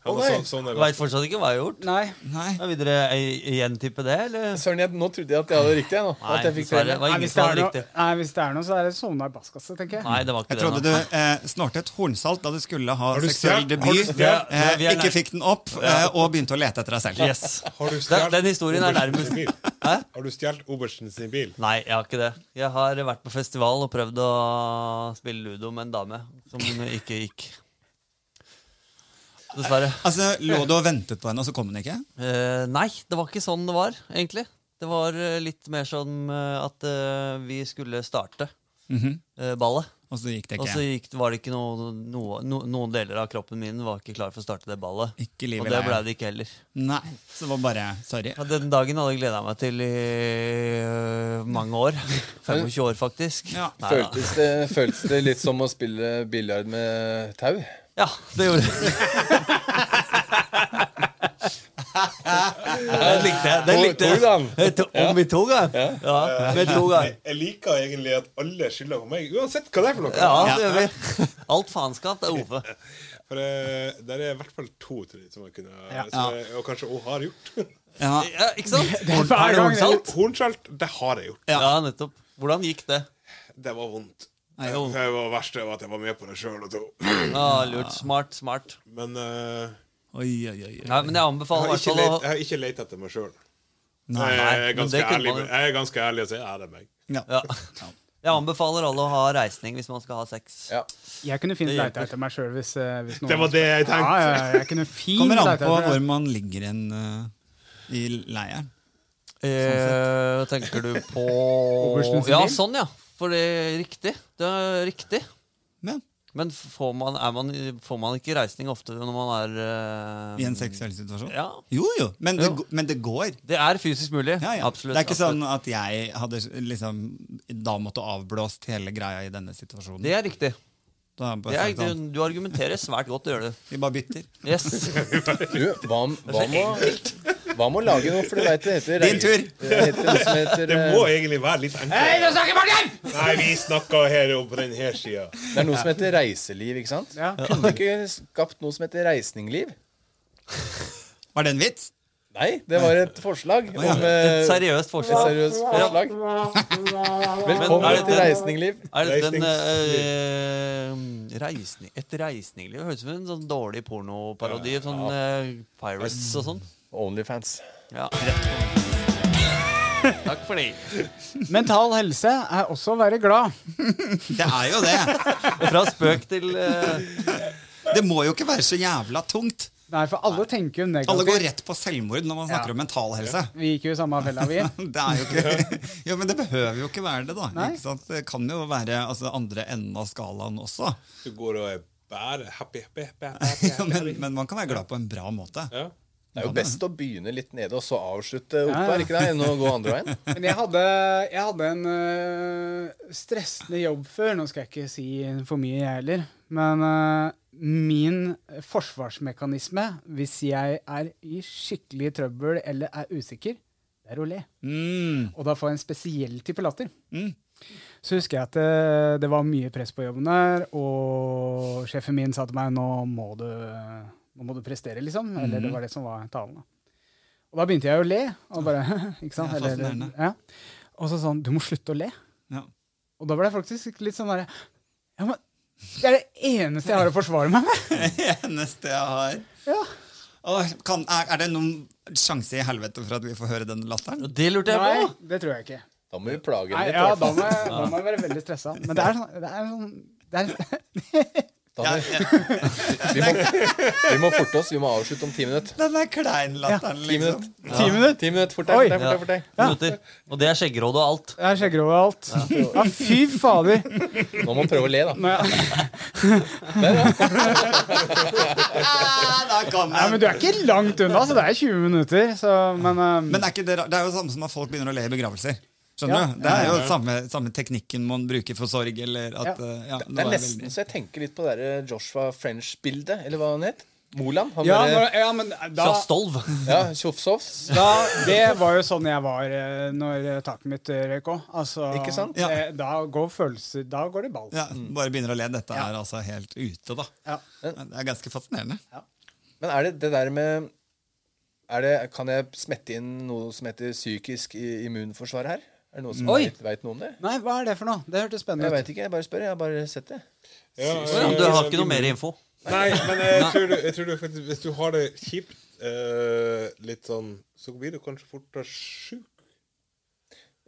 S3: Å
S5: Han var
S3: nei!
S5: så, sånn
S4: Du
S5: der,
S4: veit fortsatt ikke hva jeg har gjort.
S2: Nei.
S6: Nei.
S4: Ja, vil dere eh, gjentippe det, eller?
S3: Søren, jeg, nå trodde jeg at jeg hadde riktig. jeg, Nå.
S4: Nei,
S3: at jeg fikk
S4: dessverre. Det
S3: premie.
S4: var
S2: Nei,
S4: ingen
S2: hvis det,
S4: som
S2: er
S4: hadde
S2: noe,
S4: riktig.
S2: nei, hvis det er noe, så er det sovna i basskasse, tenker jeg.
S4: Nei, det var ikke
S6: Jeg trodde du
S4: det. nå.
S6: eh, snortet hornsalt da du skulle ha
S5: Har du
S6: seksuell
S5: stjert- har du
S6: debut.
S5: stjert-
S6: Eh,
S4: Vi er nær-
S6: ikke fikk den opp, eh, og begynte å lete etter deg selv.
S4: Yes.
S5: Har du
S4: Den,
S5: stjålet
S4: den historien er
S5: Obersten
S4: nærmest
S5: sin bil?
S4: Hæ?
S5: Har du stjålet Obersten sin bil?
S4: Nei, jeg har ikke det. Jeg har vært på festival og prøvd å spille ludo med en dame som ikke gikk. Dessverre.
S6: Altså, Lå du og ventet på henne, og så kom hun ikke?
S4: Eh, nei, det var ikke sånn det var, egentlig. Det var eh, litt mer sånn eh, at eh, vi skulle starte eh, ballet.
S6: Og så gikk det
S4: Og så
S6: Mhm. ikke.
S4: gikk, var det ikke noe, noe, no, noen deler av kroppen min var ikke klar for å starte det ballet.
S6: Ikke livet
S4: og det
S6: der.
S4: ble det ikke heller.
S6: Nei, så det var bare sorry.
S4: Ja, Den dagen hadde jeg gleda meg til i eh, mange år. 25 år, faktisk.
S6: Ja.
S4: Nei, da.
S3: Føltes det, føltes det litt som å spille biljard med tau?
S4: Ja, det gjorde det. Den likte jeg. Den
S3: To-
S4: likte jeg.
S3: to gang.
S4: Eh, to- Om vi to gang? Ja, med to gang.
S5: Jeg, jeg liker egentlig at alle skylder på meg, uansett hva det er for noe.
S4: Ja, det gjør vi. Alt faenskap er Ove.
S5: For eh, der er i hvert fall to tror jeg, som jeg kunne som jeg, Og kanskje hun har gjort.
S6: Ja,
S4: Ja, ikke sant?
S2: er hver gang, det.
S4: Hornsalt?
S5: Hornskjelt, det har jeg gjort.
S4: Ja. nettopp. Hvordan gikk det?
S5: Det var vondt.
S6: Nei, jo.
S5: det var verste var at jeg var med på det sjøl.
S4: Ja, Ah, lurt. Smart, smart.
S5: Men eh,
S6: oi, oi, oi.
S4: Nei, men jeg anbefaler i hvert
S5: jeg, har ikke
S4: fall
S5: leit, jeg
S4: å altså,
S5: har ikke lett etter meg sjøl.
S4: Nei,
S5: Jeg er
S4: men
S5: ganske
S4: det kunne
S5: ærlig
S4: man jo.
S5: Jeg er ganske ærlig og sier ja, det er meg.
S6: Ja.
S4: ja. Jeg anbefaler alle å ha reisning hvis man skal ha sex.
S3: Ja.
S2: Jeg kunne fint
S4: Det hjelper.
S2: leita etter meg sjøl hvis, eh, hvis noen
S5: Det var det jeg
S2: Ja,
S5: tenkte.
S2: ja, ja, jeg kunne fint
S6: Kommer an
S2: leita
S6: på
S2: etter
S6: hvor
S2: det.
S6: man ligger en, eh, i leiren.
S4: Eh, tenker du på
S2: Obersten sin
S4: Ja,
S2: bil?
S4: sånn, ja. For det er riktig. Det er riktig.
S6: Men
S4: Men får man, er man, får man ikke reisning ofte når man er eh,
S6: i en seksuell situasjon.
S4: Ja.
S6: Jo, jo. Men det,
S4: Jo.
S6: gå- men det går.
S4: Det er fysisk mulig.
S6: Ja, ja.
S4: Absolutt.
S6: det er ikke
S4: absolutt.
S6: sånn at jeg hadde liksom da måtte avblåst hele greia i denne situasjonen.
S4: Det er riktig.
S6: da har jeg bare
S4: Det er,
S6: sagt sånn,
S4: du, du argumenterer svært godt, det gjør du.
S6: Vi bare bytter.
S4: Yes.
S3: Du, hva, om- hva, må, hva må lage noe, for du veit det heter
S6: Din tur.
S3: Det heter noe som heter
S5: Det
S3: eh,
S5: må egentlig være litt enklere.
S2: snakker Martin!
S5: Nei, vi snakka her om på den her sida.
S3: Det er noe som heter reiseliv, ikke sant?
S2: Ja.
S3: Kunne du ikke skapt noe som heter reisningliv?
S6: Var det en vits?
S3: Nei, det var et forslag.
S6: ja.
S3: Om, eh,
S4: Et
S3: et
S4: seriøst forslag.
S3: seriøst forslag.
S4: Men er
S3: Velkommen
S4: det-
S3: til reisningliv.
S4: Er dette en
S5: Reisningsliv.
S4: eh, reisning, Et reisningliv? Høres ut som en sånn dårlig pornoparodi. Sånn eh, Pirates og sånn.
S3: Onlyfans.
S4: Ja. Takk for det.
S2: Mental helse er også å være glad.
S6: Det er jo det.
S4: Fra spøk til eh,
S6: Det må jo ikke være så jævla tungt.
S2: Nei, for alle tenker jo
S6: Alle går
S2: negativt.
S6: rett på selvmord når man snakker
S2: Ja.
S6: om mental helse.
S2: Vi gikk jo i samme fella, vi.
S6: Det er jo ikke, jo, men det behøver jo ikke være det, da.
S2: Nei.
S6: Ikke sant? Det kan jo være altså, andre enden av skalaen også.
S5: Du går og er bare happy, happy, happy, happy,
S6: Ja,
S5: happy,
S6: men,
S5: happy.
S6: men man kan være glad på en bra måte.
S5: Ja.
S3: Det er jo best å begynne litt nede og så avslutte opp der,
S2: ja.
S3: ikke det? Enn å gå andre veien.
S2: Men jeg hadde, jeg hadde en øh, stressende jobb før. Nå skal jeg ikke si for mye, jeg heller. Men øh, min forsvarsmekanisme, hvis jeg er i skikkelig trøbbel eller er usikker, det er å le.
S6: Mm.
S2: Og da får jeg en spesiell type latter.
S6: Mm.
S2: Så husker jeg at eh, det, det var mye press på jobben der, og sjefen min sa til meg nå må du, nå må du prestere, liksom. Eller det var det som var talen. da. Og da begynte jeg å le. Og bare, ikke sant?
S6: Ja,
S2: Eller,
S6: fascinerende.
S2: ja. Og så sa han du må slutte å le.
S6: Ja.
S2: Og da ble jeg faktisk litt sånn derre ja, men Det er det eneste jeg har å forsvare meg med!
S6: Det eneste jeg har.
S2: Ja.
S6: Åh, kan, er, er det noen sjanse i helvete for at vi får høre den latteren?
S4: Det lurte jeg
S2: Nei,
S4: på!
S2: det tror jeg ikke.
S3: Da må vi plage
S2: Nei,
S3: den litt.
S2: ja,
S3: i hvert
S2: da,
S3: fall.
S2: må jeg, da må jeg være veldig stressa. Men det er sånn, det er sånn det er,
S3: Da må vi, vi, må, vi må forte oss. Vi må avslutte om ti minutter.
S6: Den er klein-latteren,
S3: Ti
S6: liksom.
S3: minutter.
S2: Ti minutter?
S3: Ti minutter, Fort deg,
S2: Oi.
S3: fort deg, fort deg, fort deg.
S4: Minutter. Og det er skjeggeråd og alt.
S2: Det er skjegger over alt. Ja, fy fader!
S3: Nå må man prøve å le, da.
S2: Nå, ja.
S6: Ah, da kom
S2: Nei, men
S6: den.
S2: du er ikke altså. langt unna, så det er 20 minutter. Så, men, um,
S6: Men er ikke det, ra- det er jo det samme som at folk begynner å le i begravelser. Skjønner
S2: Ja.
S6: du? Det er jo samme, samme teknikken man bruker for sorg. Eller at,
S2: Ja.
S6: eh, ja,
S3: Det er
S6: noe
S3: nesten sånn.
S6: veldig-
S3: så jeg tenker litt på det der Joshua French-bildet, eller hva han het. Moland. Han
S2: Ja,
S3: derre
S2: når, ja, men eh, da,
S4: Fra Stolv.
S3: ja, Tjofsovs.
S2: da Det var jo sånn jeg var eh, når eh, taket mitt eh, røyk òg. Altså,
S3: Ikke sant?
S6: Ja.
S2: eh, da går følelser Da går det ball.
S6: ja,
S3: Mm.
S6: Bare begynner å le. Dette er altså helt ute, da.
S2: Ja.
S6: Det er ganske fascinerende.
S3: Men er det det der med er det, Kan jeg smette inn noe som heter psykisk i- immunforsvar her? Er det noen som
S2: Oi!
S3: vet, vet noe om det?
S2: Nei, hva er det for noe? Det hørtes
S3: Jeg
S2: spennende ut.
S3: veit ikke. Jeg bare spør. Jeg har bare sett det.
S5: Ja,
S4: Ja, du har ikke noe mer info?
S5: Nei, men jeg tror, du, jeg tror du, faktisk- hvis du har det kjipt, eh, litt sånn, så blir du kanskje fortere sjuk.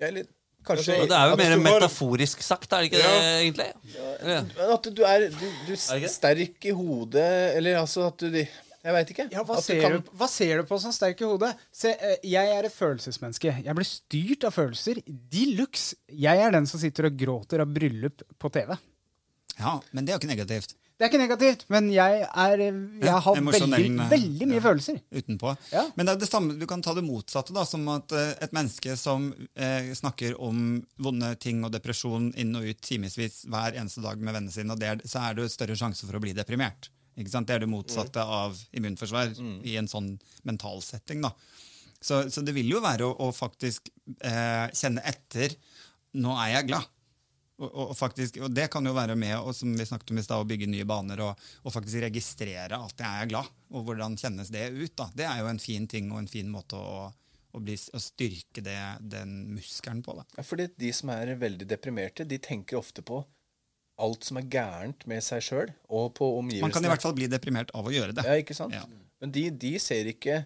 S3: Ja, eller kanskje
S5: Altså,
S4: Det er jo
S5: At
S4: mer
S5: du har-
S4: metaforisk sagt, er det ikke det, egentlig? Ja.
S3: Men At du er du, du
S4: Er det ikke?
S3: sterk i hodet, eller altså at du Jeg veit ikke.
S2: Ja, hva,
S3: at
S2: ser
S3: kan,
S2: du, hva ser du på som sterk i hodet? Se, eh, jeg er et følelsesmenneske. Jeg blir styrt av følelser de luxe. Jeg er den som sitter og gråter av bryllup på TV.
S6: Ja, Men det er jo ikke negativt.
S2: Det er ikke negativt, men jeg, er, eh, jeg har veldig,
S6: emosjonell, eh,
S2: veldig mye
S6: ja.
S2: følelser.
S6: utenpå.
S2: Ja.
S6: Men det er det samme, du kan ta det motsatte, da, som at eh, et menneske som eh, snakker om vonde ting og depresjon inn og ut timevis hver eneste dag med vennene sine, og det er, så er det større sjanse for å bli deprimert. Ikke sant? Det er det motsatte av immunforsvar i en sånn mental setting. Da. Så, så det vil jo være å, å faktisk eh, kjenne etter Nå er jeg glad. Og, og, og, faktisk, og det kan jo være med og som vi snakket om i sted, å bygge nye baner og, og faktisk registrere at jeg er glad. Og hvordan kjennes det ut? da? Det er jo en fin ting og en fin måte å, å, bli, å styrke det, den muskelen på. da.
S3: Ja, fordi de som er veldig deprimerte, de tenker ofte på alt som er gærent med seg sjøl og på omgivelsene.
S6: Man kan i hvert fall bli deprimert av å gjøre det.
S3: Ja, ikke sant?
S6: Ja.
S3: Men de, de ser ikke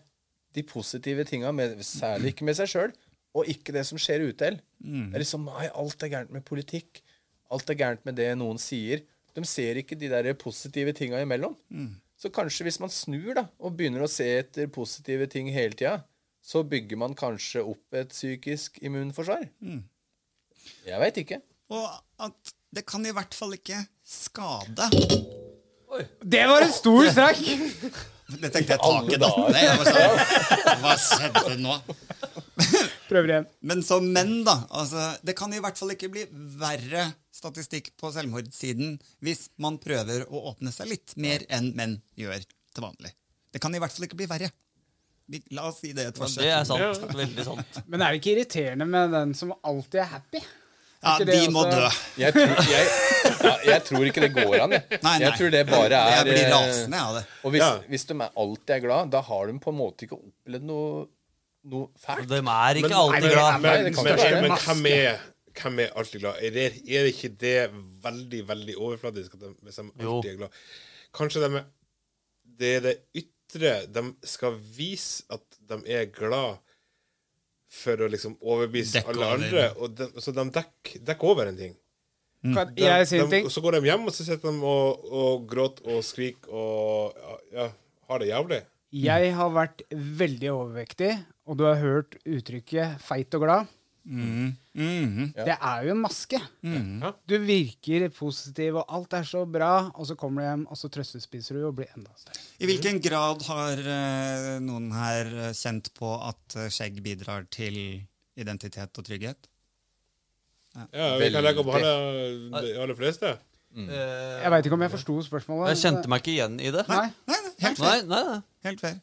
S3: de positive tinga, med, særlig ikke med seg sjøl, og ikke det som skjer ute heller.
S6: Mm.
S3: Det er liksom Nei, alt er gærent med politikk. Alt er gærent med det noen sier. De ser ikke de der positive tinga imellom.
S6: Mm.
S3: Så kanskje hvis man snur da, og begynner å se etter positive ting hele tida, så bygger man kanskje opp et psykisk immunforsvar.
S6: Mm.
S3: Jeg veit ikke.
S6: Og at det kan i hvert fall ikke skade.
S2: Det var en stor strekk!
S6: Det tenkte jeg taket datt ned. Jeg var sånn, Hva skjedde nå?
S2: Prøver igjen.
S6: Men som menn, da. Altså, det kan i hvert fall ikke bli verre statistikk på selvmordssiden hvis man prøver å åpne seg litt mer enn menn gjør til vanlig. Det kan i hvert fall ikke bli verre. Vi, la oss si det et forsøk.
S4: Det er sant. Veldig sant.
S2: Men er det ikke irriterende med den som alltid er happy?
S6: ja,
S2: ikke
S6: de
S2: det
S6: må
S3: altså.
S2: også-
S6: dø.
S3: Jeg tror, jeg, ja, jeg tror ikke det går an. Jeg,
S6: Nei, nei.
S3: jeg tror det bare er
S6: Jeg blir
S3: eh,
S6: rasende av det.
S3: Og hvis,
S5: Ja.
S3: hvis de er alltid er glad, da har de på en måte ikke opplevd noe, noe fælt.
S4: De er ikke
S2: Nei,
S4: alltid
S2: det er-
S4: glad.
S3: det
S5: Men, men,
S3: kan
S5: men,
S3: ikke være.
S5: hvem, er, hvem er alltid glad? Er det, er ikke det veldig, veldig overfladisk at de, hvis de alltid
S4: Jo.
S5: er glad? Kanskje de er, det er det ytre de skal vise at de er glad for å liksom overbevise
S6: Dekke
S5: alle
S6: over.
S5: andre, og de, så de dekker dekk over en ting.
S6: Mm.
S2: Kan
S5: De,
S2: jeg si
S5: de,
S2: en ting?
S5: og Så går de hjem, og så sitter de og, og gråter og skriker og ja, ja, har det jævlig.
S6: Mm.
S2: Jeg har vært veldig overvektig, og du har hørt uttrykket 'feit og glad'.
S6: Mhm.
S2: Det er jo en maske. Du virker positiv, og alt er så bra, og så kommer du hjem, og så trøstespiser du og blir enda større.
S6: I hvilken grad har eh, noen her eh, kjent på at eh, skjegg bidrar til identitet og trygghet?
S5: Ja, vi kan legge opp
S3: Veldig.
S5: alle- de aller fleste.
S2: Jeg veit ikke om jeg forsto spørsmålet.
S4: Mm. Jeg kjente meg ikke igjen i det.
S6: Nei, nei, nei helt
S4: Nei, nei, nei.
S6: Helt fair.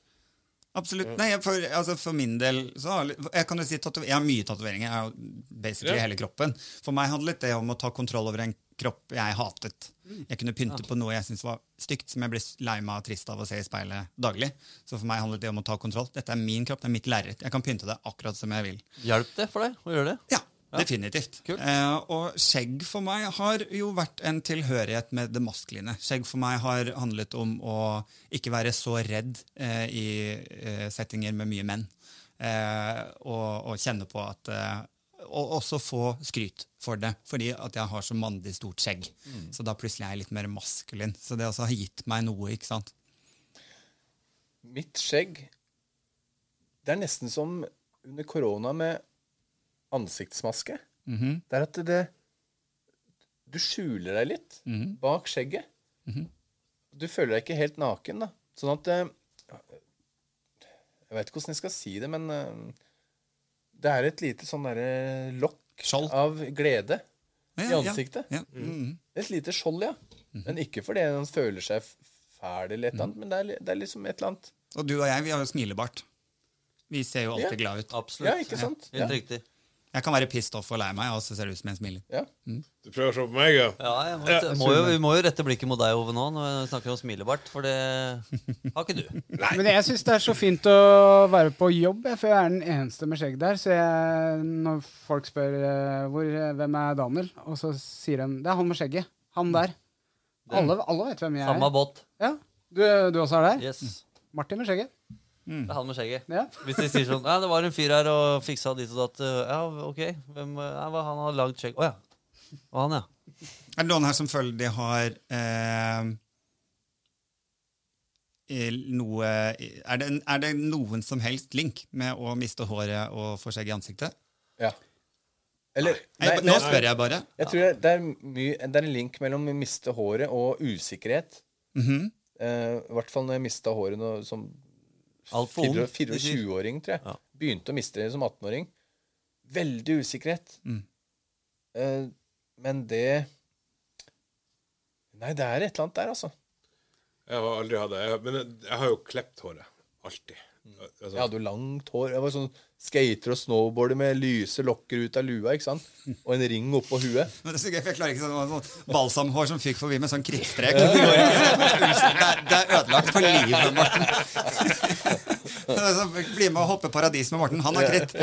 S6: Absolutt. Nei, jeg, for, altså, for min del så har Jeg kan jo si tatove- Jeg har mye tatoveringer. Jeg har jo basically hele kroppen. For meg handlet det om å ta kontroll over en kropp jeg hatet. Jeg kunne pynte på noe jeg syntes var stygt, som jeg ble lei meg og trist av å se i speilet daglig. Så for meg handlet det om å ta kontroll. Dette er min kropp, det er mitt lerret. Jeg kan pynte det akkurat som jeg vil.
S4: Hjalp det for deg å gjøre det?
S6: Ja, definitivt.
S4: Kult.
S6: Eh, og skjegg for meg har jo vært en tilhørighet med det maskuline. Skjegg for meg har handlet om å ikke være så redd eh, i eh, settinger med mye menn. Eh, og, og kjenne på at eh, Og også få skryt for det, fordi at jeg har så mandig stort skjegg. Så da plutselig er jeg litt mer maskulin. Så det også har gitt meg noe, ikke sant.
S3: Mitt skjegg Det er nesten som under korona med ansiktsmaske. Det er at det Du skjuler deg litt bak skjegget. Du føler deg ikke helt naken, da. Sånn at eh, Jeg veit ikke hvordan jeg skal si det, men eh, det er et lite sånn derre lokk
S6: Skjold.
S3: av glede i
S6: Ja, ja,
S3: ansiktet.
S6: Ja. Mm.
S3: Et lite skjold, ja. Men ikke fordi han føler seg f- fæl eller et eller annet, men det er, li- det er liksom et eller annet
S6: Og du og jeg, vi har jo smilebart. Vi ser jo alltid glad ut.
S4: Absolutt.
S3: Ja, ikke sant? Ja.
S4: Helt riktig.
S6: Jeg kan være pissed off og lei meg, og så ser det ut som jeg smiler.
S3: Ja.
S5: Du prøver å se på meg, ja?
S4: Ja, jeg må, jeg må jo, vi må jo rette blikket mot deg, Ove, nå når vi snakker om smilebart, for det har ikke du.
S2: Men jeg syns det er så fint å være på jobb, jeg, for jeg er den eneste med skjegg der. Så jeg, når folk spør eh, hvor, hvem er Daniel, og så sier de det er han med skjegget.
S3: Mm.
S2: Han der. Alle, alle vet hvem jeg
S4: Samme
S2: er.
S4: båt.
S2: Ja. Du, du også er der?
S4: Yes.
S2: Martin med skjegget.
S4: Det er han med skjegget.
S2: Ja.
S4: Hvis de sier sånn Ja, det var en fyr her og fiksa dit og datt. eh, Ja, OK. Hvem eh, ja, hva- Han har langt skjegg. Å ja. Det var han, ja.
S6: Er det noen her som føler de har eh, il- noe er det, er det noen som helst link med å miste håret og få skjegg i ansiktet?
S3: ja. Eller
S6: Nei,
S3: nei,
S6: nå
S3: men jeg,
S6: spør jeg bare.
S3: jeg tror det er, mye, det er en link mellom å miste håret og usikkerhet.
S6: Mhm.
S3: Eh, I hvert fall når jeg mista håret nå, som
S4: Altfor ung.
S3: 24-åring, tror jeg.
S4: Ja.
S3: Begynte å miste det som 18-åring. Veldig usikkerhet. Eh, men det Nei, det er et eller annet der, altså.
S5: Jeg har aldri hatt det. Jeg, men jeg, jeg har jo klept håret. Alltid. Altså,
S3: Jeg hadde jo langt hår. Jeg var sånn skater og snowboarder med lyse lokker ut av lua, ikke sant? Og en ring oppå huet.
S6: Men det er så gøy, for jeg klarer ikke sånn, sånn balsamhår som fyker forbi med sånn krittstrek. Det, går ikke. Unnskyld, det er- det er ødelagt for livet, Morten. Det er sånn, Bli med og hoppe paradis med Morten. Han har kritt.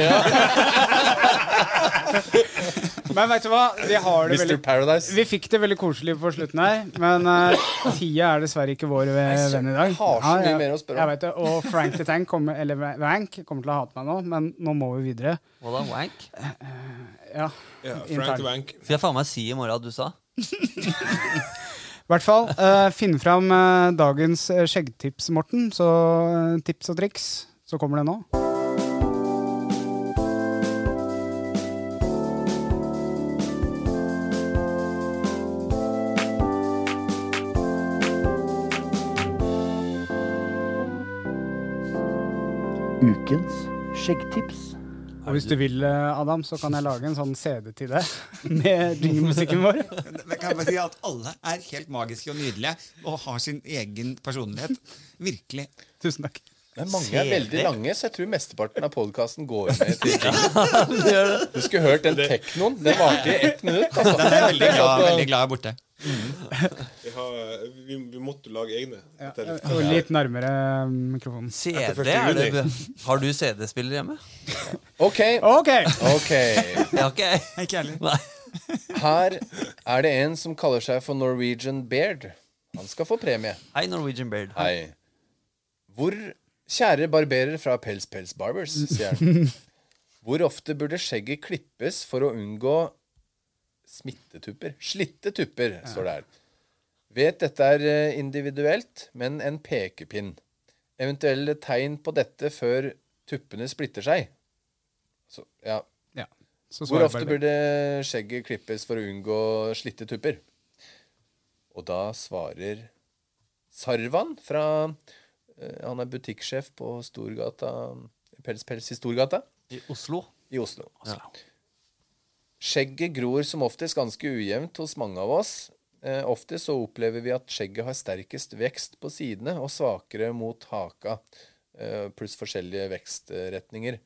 S2: Men vet du hva? Vi har det
S3: Mr.
S2: veldig
S3: Paradise.
S2: vi fikk det veldig koselig på slutten her, men eh, tida er dessverre ikke vår ve-
S3: Nei, så-
S2: venn i dag.
S3: jeg har så mye
S2: Ja, ja.
S3: mer å spørre om.
S2: Jeg vet det, Og Frank the Tank kommer, eller Rank kommer til å hate meg nå, men nå må vi videre.
S4: Hva da, wank?
S2: Ja,
S5: ja,
S2: intern.
S5: Frank the Bank.
S4: Skal jeg faen meg si i morgen at du sa?
S2: I hvert fall, eh, finn fram eh, dagens eh, skjeggtips, Morten. Så eh, tips og triks, så kommer det nå.
S8: Ukens skjeggtips.
S2: Og hvis du vil, eh, Adam, så kan jeg lage en sånn CD til deg med jinglemusikken vår.
S6: Men kan jeg bare si at Alle er helt magiske og nydelige og har sin egen personlighet. Virkelig.
S2: Tusen takk.
S3: Men mange er veldig lange, så jeg tror mesteparten av podkasten går med til Du skulle hørt den teknoen. Den varte i ett minutt. Altså.
S6: Den er jeg veldig glad, veldig glad er borte.
S5: Vi, har, vi, vi måtte lage egne. Etter,
S2: Og litt nærmere eh, mikrofonen.
S4: CD?
S5: Etter første
S4: Er det,
S5: juni.
S4: har du CD-spiller hjemme?
S3: OK.
S2: OK!
S3: ok
S4: Jeg har ikke jeg.
S6: Ikke ærlig.
S4: Nei.
S3: Her er det en som kaller seg for Norwegian Beard. Han skal få premie.
S4: Hei, Norwegian Beard.
S3: Hei. Hvor Kjære barberer fra Pels Pels Barbers, sier han. Hvor ofte burde skjegget klippes for å unngå smittetupper? Slitte tupper, står det her. Vet dette er eh, individuelt, men en pekepinn. Eventuelle tegn på dette før tuppene splitter seg. Så, ja.
S2: Ja. Så
S3: Hvor
S2: svarer
S3: ofte
S2: bare det.
S3: burde skjegget klippes for å unngå slitte tupper? Og da svarer Sarvan fra eh, Han er butikksjef på Storgata Pels Pels i Storgata
S4: I Oslo.
S3: i Oslo. Skjegget gror som oftest ganske ujevnt hos mange av oss. Eh, ofte så opplever vi at skjegget har sterkest vekst på sidene og svakere mot haka, eh, pluss forskjellige vekstretninger.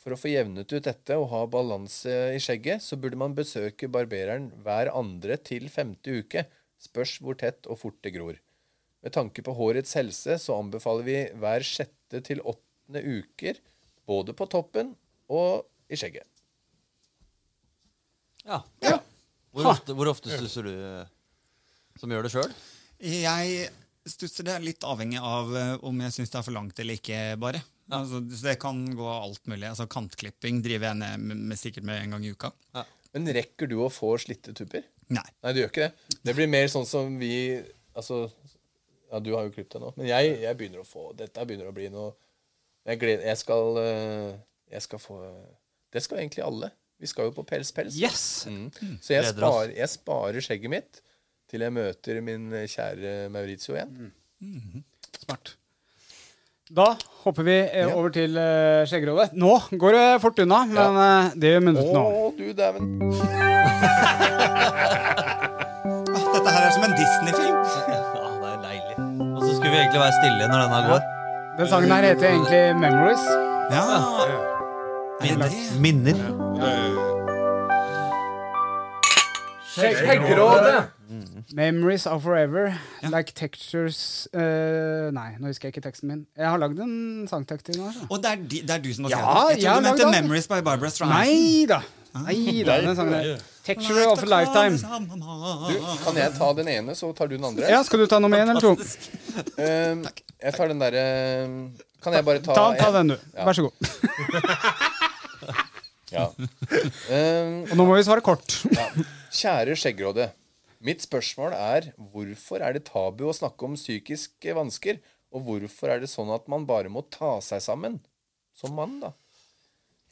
S3: For å få jevnet ut dette og ha balanse i skjegget, så burde man besøke barbereren hver andre til femte uke. Spørs hvor tett og fort det gror. Med tanke på hårets helse så anbefaler vi hver sjette til åttende uker, både på toppen og i skjegget.
S4: Ja. Hvor ofte, hvor ofte stusser du eh, som gjør det sjøl?
S6: Jeg stusser det litt avhengig av eh, om jeg syns det er for langt eller ikke, bare. Altså, så det kan gå alt mulig. Altså, kantklipping driver jeg ned med, med, sikkert med en gang i uka.
S3: Men rekker du å få slitte tupper?
S6: Nei.
S3: Nei, du gjør ikke det. Det blir mer sånn som vi Altså, ja, du har jo klippet deg nå, men jeg, jeg begynner å få Dette begynner å bli noe Jeg gleder Jeg skal eh, Jeg skal få Det skal egentlig alle. Vi skal jo på Pels Pels.
S2: Yes!
S3: Mm. Så jeg
S4: Gleder oss.
S3: sparer, jeg sparer skjegget mitt
S2: Mm.
S3: til jeg møter min kjære Maurizio igjen.
S2: Smart. Da hopper vi eh,
S3: Ja.
S2: over til uh, skjeggerådet. Nå går det fort unna, men eh, det gjør
S3: Å,
S2: minuttet nå.
S3: du dæven.
S6: Ah, Dette her er som en Disney-film.
S4: Ja, det er deilig. Og så skulle vi egentlig være stille når denne går.
S2: Den sangen her heter egentlig Memories.
S6: Ja.
S4: Minner. Minner.
S2: Memories are forever, like textures eh, Nei, nå husker jeg ikke teksten min. Jeg har lagd en sangtekst til altså. den her. så.
S6: Og det er, de, det er du som har
S2: Ja,
S6: skrevet den. Jeg
S2: jeg
S6: trodde du
S2: lagde
S6: mente
S2: den.
S6: 'Memories' by Barbara Strand.
S2: Nei da! Nei da, den sangen der. Texture of a lifetime.
S3: Du, kan jeg ta den ene, så tar du den andre?
S2: Ja, skal du ta nummer én eller to?
S3: Eh, jeg tar den derre Kan jeg bare ta,
S2: Ta, ta
S3: en?
S2: den, du.
S3: Ja.
S2: Vær så god.
S3: Ja. Eh,
S2: Og nå må vi svare kort.
S3: Kjære skjeggråde. Mitt spørsmål er hvorfor er det tabu å snakke om psykiske vansker? Og hvorfor er det sånn at man bare må ta seg sammen? Som mann, da.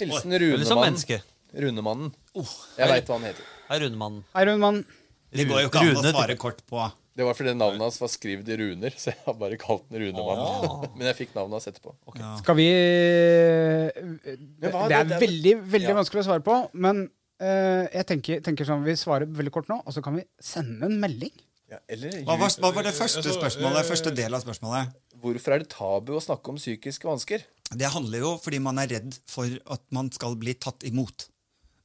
S3: Hilsen
S4: Eller som
S3: Runemannen.
S4: menneske.
S3: Runemannen. Jeg veit hva han heter.
S4: Hei, Runemannen.
S2: Hei, Rundmann.
S6: Det går jo ikke an å
S4: Rune,
S6: svare kort på.
S3: Det var fordi navnet hans var skrevet i runer, så jeg har bare kalt den Runemannen. Men jeg fikk navnet hans etterpå.
S2: Skal vi Det
S3: hva er
S2: det er
S3: det-
S2: veldig veldig
S3: Ja.
S2: vanskelig å svare på, men eh, jeg tenker, tenker sånn vi svarer veldig kort nå, og så kan vi sende en melding.
S3: Ja, eller
S6: Hva var, hva var det første spørsmålet? Første del av spørsmålet?
S3: Hvorfor er det tabu å snakke om psykiske vansker?
S6: Det handler jo fordi man er redd for at man skal bli tatt imot.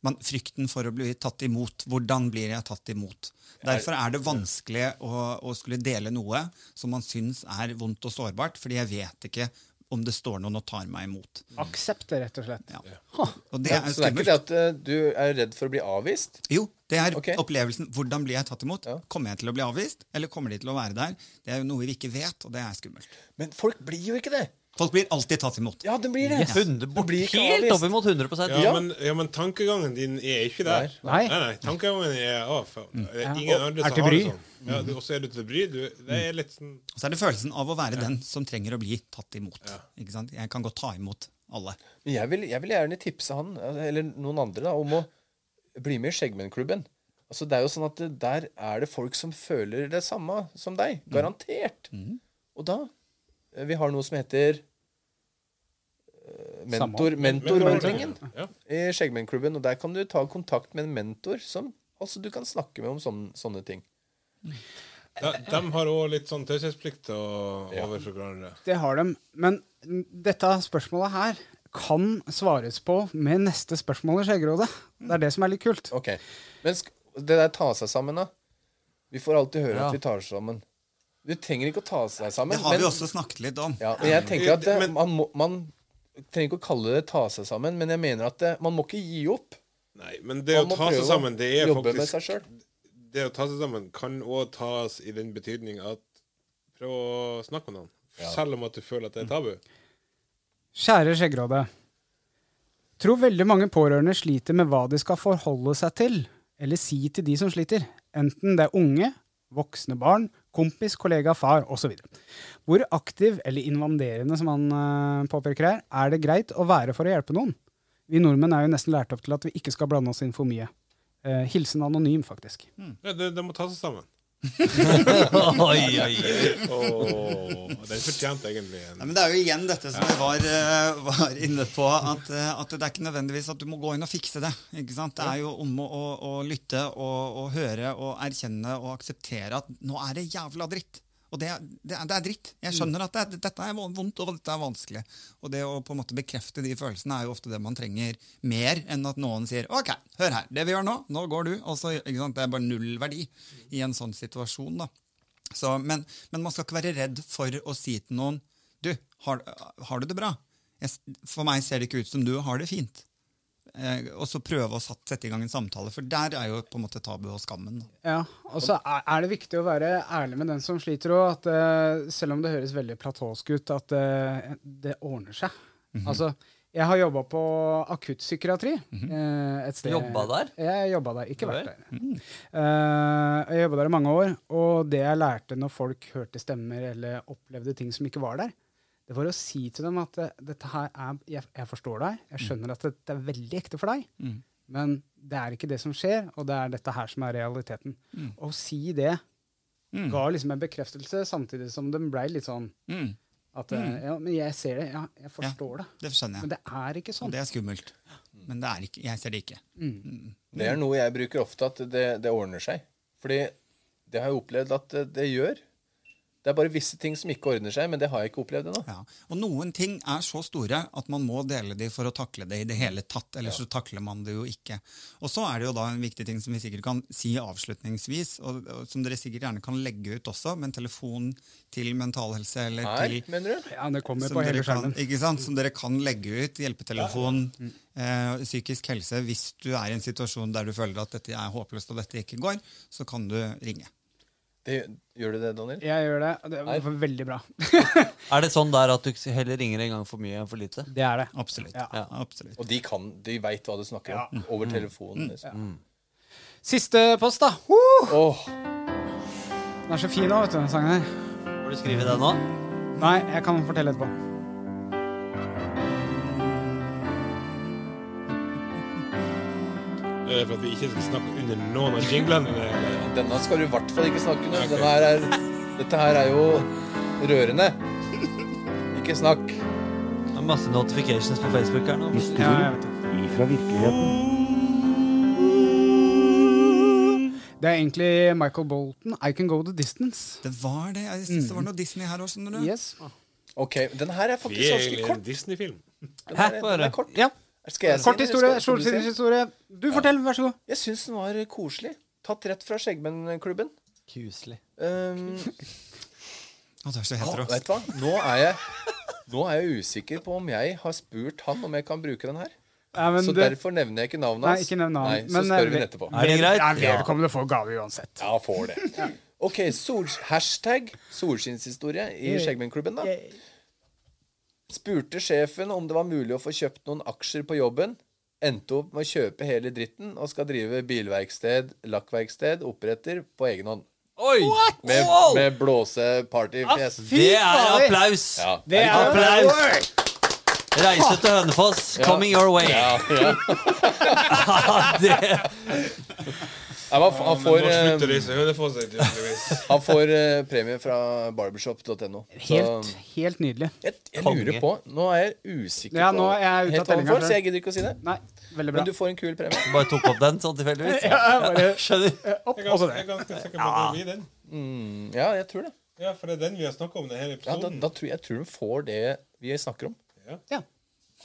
S6: Man, frykten for å bli tatt imot. Hvordan blir jeg tatt imot? Derfor er det vanskelig å, å skulle dele noe som man syns er vondt og sårbart, fordi jeg vet ikke om det står noen og tar meg imot.
S2: Mm. Aksept, rett og slett.
S6: Ja. Og det er
S3: så det er
S6: jo
S3: ikke
S6: skummelt.
S3: det at eh, du er redd for å bli avvist.
S6: Jo, det er
S3: Ok.
S6: opplevelsen. Hvordan blir jeg tatt imot?
S3: Ja.
S6: Kommer jeg til å bli avvist, eller kommer de til å være der? Det er jo noe vi ikke vet, og det er skummelt.
S3: Men folk blir jo ikke det.
S6: Folk blir alltid tatt imot.
S3: Ja, det blir det.
S4: Hundre
S3: Du blir ikke
S4: helt
S3: avvist.
S4: oppimot 100
S5: Ja, Men, ja, men tankegangen din er ikke der.
S2: Nei.
S5: nei, tankegangen er å, faen. Det er ingen andre
S2: Er
S5: som
S2: til
S5: har det
S2: bry. Mm.
S5: sånn. Ja, du- Og så er du til bry. Du, det er litt sånn
S6: Og så er det følelsen av å være den som trenger å bli tatt imot. Ikke sant? Jeg kan godt ta imot alle.
S3: Men Jeg vil, jeg vil gjerne tipse han, eller noen andre, da, om å bli med i Skjeggmennklubben. Altså, det er jo sånn at det- Der er det folk som føler det samme som deg.
S6: Mm.
S3: Garantert. Og da eh, Vi har noe som heter eh, mentor, mentorordningen
S5: Ja.
S3: i Skjeggmennklubben. Og der kan du ta kontakt med en mentor som altså, du kan snakke med om sånne, sånne ting.
S5: De, de har òg litt sånn taushetsplikt og- overfor hverandre.
S2: Det har de. Men dette spørsmålet her kan svares på med neste spørsmål i Skjeggerådet. Det er det som er litt kult.
S3: Ok, Men sk det der ta seg sammen, da. Vi får alltid høre at vi tar oss sammen. Du trenger ikke å ta seg sammen.
S6: Det har
S3: men-
S6: vi også snakket litt om.
S3: Ja, men jeg tenker at det,
S5: Men-
S3: man, må, man trenger ikke å kalle det ta seg sammen, men jeg mener at det, man må ikke gi opp.
S5: Nei, men det å
S3: Man må
S5: ta seg
S3: prøve å
S5: sammen, det er
S3: jobbe med seg
S5: faktisk
S3: selv.
S5: Det å ta seg sammen kan òg tas i den betydning at prøv å snakke med noen. Selv om at du føler at det er tabu.
S2: Kjære Skjeggerådet. Tror veldig mange pårørende sliter med hva de skal forholde seg til, eller si til de som sliter, enten det er unge, voksne barn, kompis, kollega, far osv. Hvor aktiv eller invaderende, som han eh, påpeker her, er det greit å være for å hjelpe noen? Vi nordmenn er jo nesten lært opp til at vi ikke skal blande oss inn for mye. Eh, hilsen anonym, faktisk.
S5: Ja, de, de må ta seg sammen.
S4: Oi, oi, oi.
S5: Åh, den fortjente egentlig
S6: Nei,
S5: en
S6: men det er jo igjen dette som jeg var, eh, var inne på, at, eh, at det er ikke nødvendigvis at du må gå inn og fikse det. Ikke sant? Det er jo om å, å, å lytte og å høre og erkjenne og akseptere at nå er det jævla dritt. Og det, er- det, er, det er dritt. Jeg skjønner at det, er- dette er vondt og dette er vanskelig. Og det å på en måte bekrefte de følelsene er jo ofte det man trenger mer enn at noen sier ok, hør her, det vi gjør nå, nå går du. Og så, ikke sant? Det er bare null verdi i en sånn situasjon. da. Så, men, men man skal ikke være redd for å si til noen Du, har, har du det bra? Jeg, s- for meg ser det ikke ut som du har det fint. Eh, og så prøve å satt, sette i gang en samtale, for der er jo på en måte tabu og skammen. da.
S2: Ja, og så er er det viktig å være ærlig med den som sliter òg, at eh, selv om det høres veldig platåsk ut, at eh, det ordner seg. Altså, jeg har jobba på akuttpsykiatri eh, et sted.
S4: Jobba der?
S2: Jeg jobba der, ikke
S4: Vel.
S2: vært der.
S6: Mm.
S2: Eh, jeg jobba der i mange år, og det jeg lærte når folk hørte stemmer eller opplevde ting som ikke var der, det var å si til dem at eh, dette her er, jeg, jeg forstår deg, jeg
S6: Mm.
S2: skjønner at dette er veldig ekte for deg, men det er ikke det som skjer, og det er dette her som er realiteten.
S6: Mm. Mm.
S2: Å si det ga liksom en bekreftelse, samtidig som den blei litt sånn At, eh, ja, men jeg ser det. Ja, jeg forstår det.
S6: Det skjønner
S2: Men
S6: jeg.
S2: det er ikke
S6: Og
S2: sånn.
S6: det er skummelt. Men det er ikke, jeg ser det ikke.
S3: Det er noe jeg bruker ofte, at det, det ordner seg. Fordi det har jeg opplevd at det, det gjør. Det er bare visse ting som ikke ordner seg, men det har jeg ikke opplevd ennå.
S6: Ja. Og noen ting er så store at man må dele de for å takle det i det hele tatt. Ellers så takler man det jo ikke. Og så er det jo da en viktig ting som vi sikkert kan si avslutningsvis, og, og som dere sikkert gjerne kan legge ut også, med en telefon til Mental Helse eller
S3: Her,
S6: til
S3: mener du?
S2: Ja, det kommer
S6: som
S2: på
S6: dere,
S2: hele
S6: kan,
S2: skjermen.
S6: ikke sant? som dere kan legge ut. Hjelpetelefon,
S2: Mm.
S6: eh, psykisk helse. Hvis du er i en situasjon der du føler at dette er håpløst og dette ikke går, så kan du ringe.
S3: Det, gjør du det, Daniel?
S2: Jeg gjør det. og Det var veldig bra.
S4: Er det sånn der at du heller ringer en gang for mye enn for lite?
S2: Det er det.
S6: Absolutt.
S2: Ja.
S4: Ja.
S6: Absolutt.
S3: Og de kan, de veit hva du snakker om. Over telefonen. Liksom.
S2: Siste post, da. Woo!
S3: Åh,
S2: Den er så fin òg, vet du, den sangen her.
S4: Har du skrevet det nå?
S2: Nei, jeg kan fortelle etterpå.
S5: Er det for at vi ikke skal snakke under noen av jinglene? eller?
S3: denne skal du i hvert fall ikke snakke om. Denne her er, dette her er jo rørende. Ikke snakk.
S4: Det er masse notifications på Facebook her nå.
S2: Ja, jeg vet det.
S8: Ifra virkeligheten.
S2: Det er egentlig Michael Bolton, 'I Can Go The Distance'.
S6: Det var det. Jeg synes det var noe Disney her òg, skjønner du.
S2: Mm. Yes.
S3: Ok, Den her er
S5: Vi
S3: faktisk
S5: er
S3: ganske
S5: egentlig en
S3: kort.
S5: Disney-film.
S3: Den her er,
S4: Få høre.
S3: den er kort.
S2: Ja.
S3: Skal jeg si
S2: Kort
S3: den, eller
S2: historie.
S3: skal- skal du si den?
S2: Solsidens historie. Du fortell, vær så god.
S3: Jeg syns den var koselig. Tatt rett fra Skjeggmennklubben.
S4: Kuselig.
S3: Um,
S6: Å, det er så
S3: ah,
S6: hetero.
S3: vet du hva? Nå er, jeg, nå er jeg usikker på om jeg har spurt han om jeg kan bruke den her.
S2: Ja, men
S3: så
S2: du-
S3: derfor nevner jeg ikke navnet
S2: Nei,
S3: hans.
S2: ikke nevn navnet,
S3: Nei, så
S2: men,
S3: spør vi
S2: eh,
S3: den etterpå.
S4: Er det greit?
S2: Jeg er velkommen til å få gave uansett.
S3: Ja, får det. Ok, sol, hashtag solskinnshistorie i Skjeggmennklubben, da. Spurte sjefen om det var mulig å få kjøpt noen aksjer på jobben. Endte opp med å kjøpe hele dritten og skal drive bilverksted, lakkverksted, oppretter på egen hånd.
S4: Oi!
S3: Med,
S4: Wow!
S3: med blåsepartyfjes.
S2: Ah,
S4: Det er
S2: fader!
S4: applaus!
S3: Ja.
S2: Det er
S4: Applaus! Reise til Hønefoss, coming your way.
S3: Ja, ja.
S4: Det,
S3: Nei, men han, han
S5: Men
S3: får,
S5: nå slutter
S3: eh,
S5: det, så det får seg tydeligvis.
S3: han får eh, premie fra barbershop.no. Så
S2: Helt, helt nydelig.
S3: jeg, jeg
S4: Konge.
S3: lurer på Nå er jeg usikker
S2: Ja, nå er jeg ute av
S3: på helt hva han
S2: tellinga,
S3: får,
S2: tror jeg.
S3: så jeg gidder ikke å si det.
S2: Nei, veldig bra.
S3: Men du får en kul premie.
S4: bare tok opp den sånn tilfeldigvis.
S2: Ja, jeg bare-
S4: Skjønner.
S2: Opp,
S5: Jeg er
S2: og så
S5: ganske, jeg
S2: det.
S5: er ganske sikker på at det blir den.
S3: Ja, jeg tror det.
S5: Ja, for det er den vi har snakka om i denne
S3: Ja, da,
S5: episoden.
S3: da tror jeg, jeg tror hun får det vi snakker om.
S2: Ja.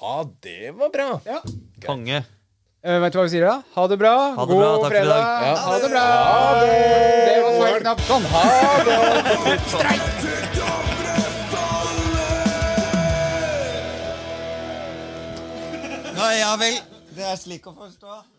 S3: Ja, det var bra.
S2: Ja.
S4: Konge.
S2: Eh, vet du hva vi sier da? Ha det bra.
S4: Ha det
S2: God
S4: bra, takk for i
S2: fredag.
S4: dag.
S3: Ja.
S2: Ha det bra. Det var feil knapp. Sånn.
S6: да Ja, ja vel. Det er slik å forstå.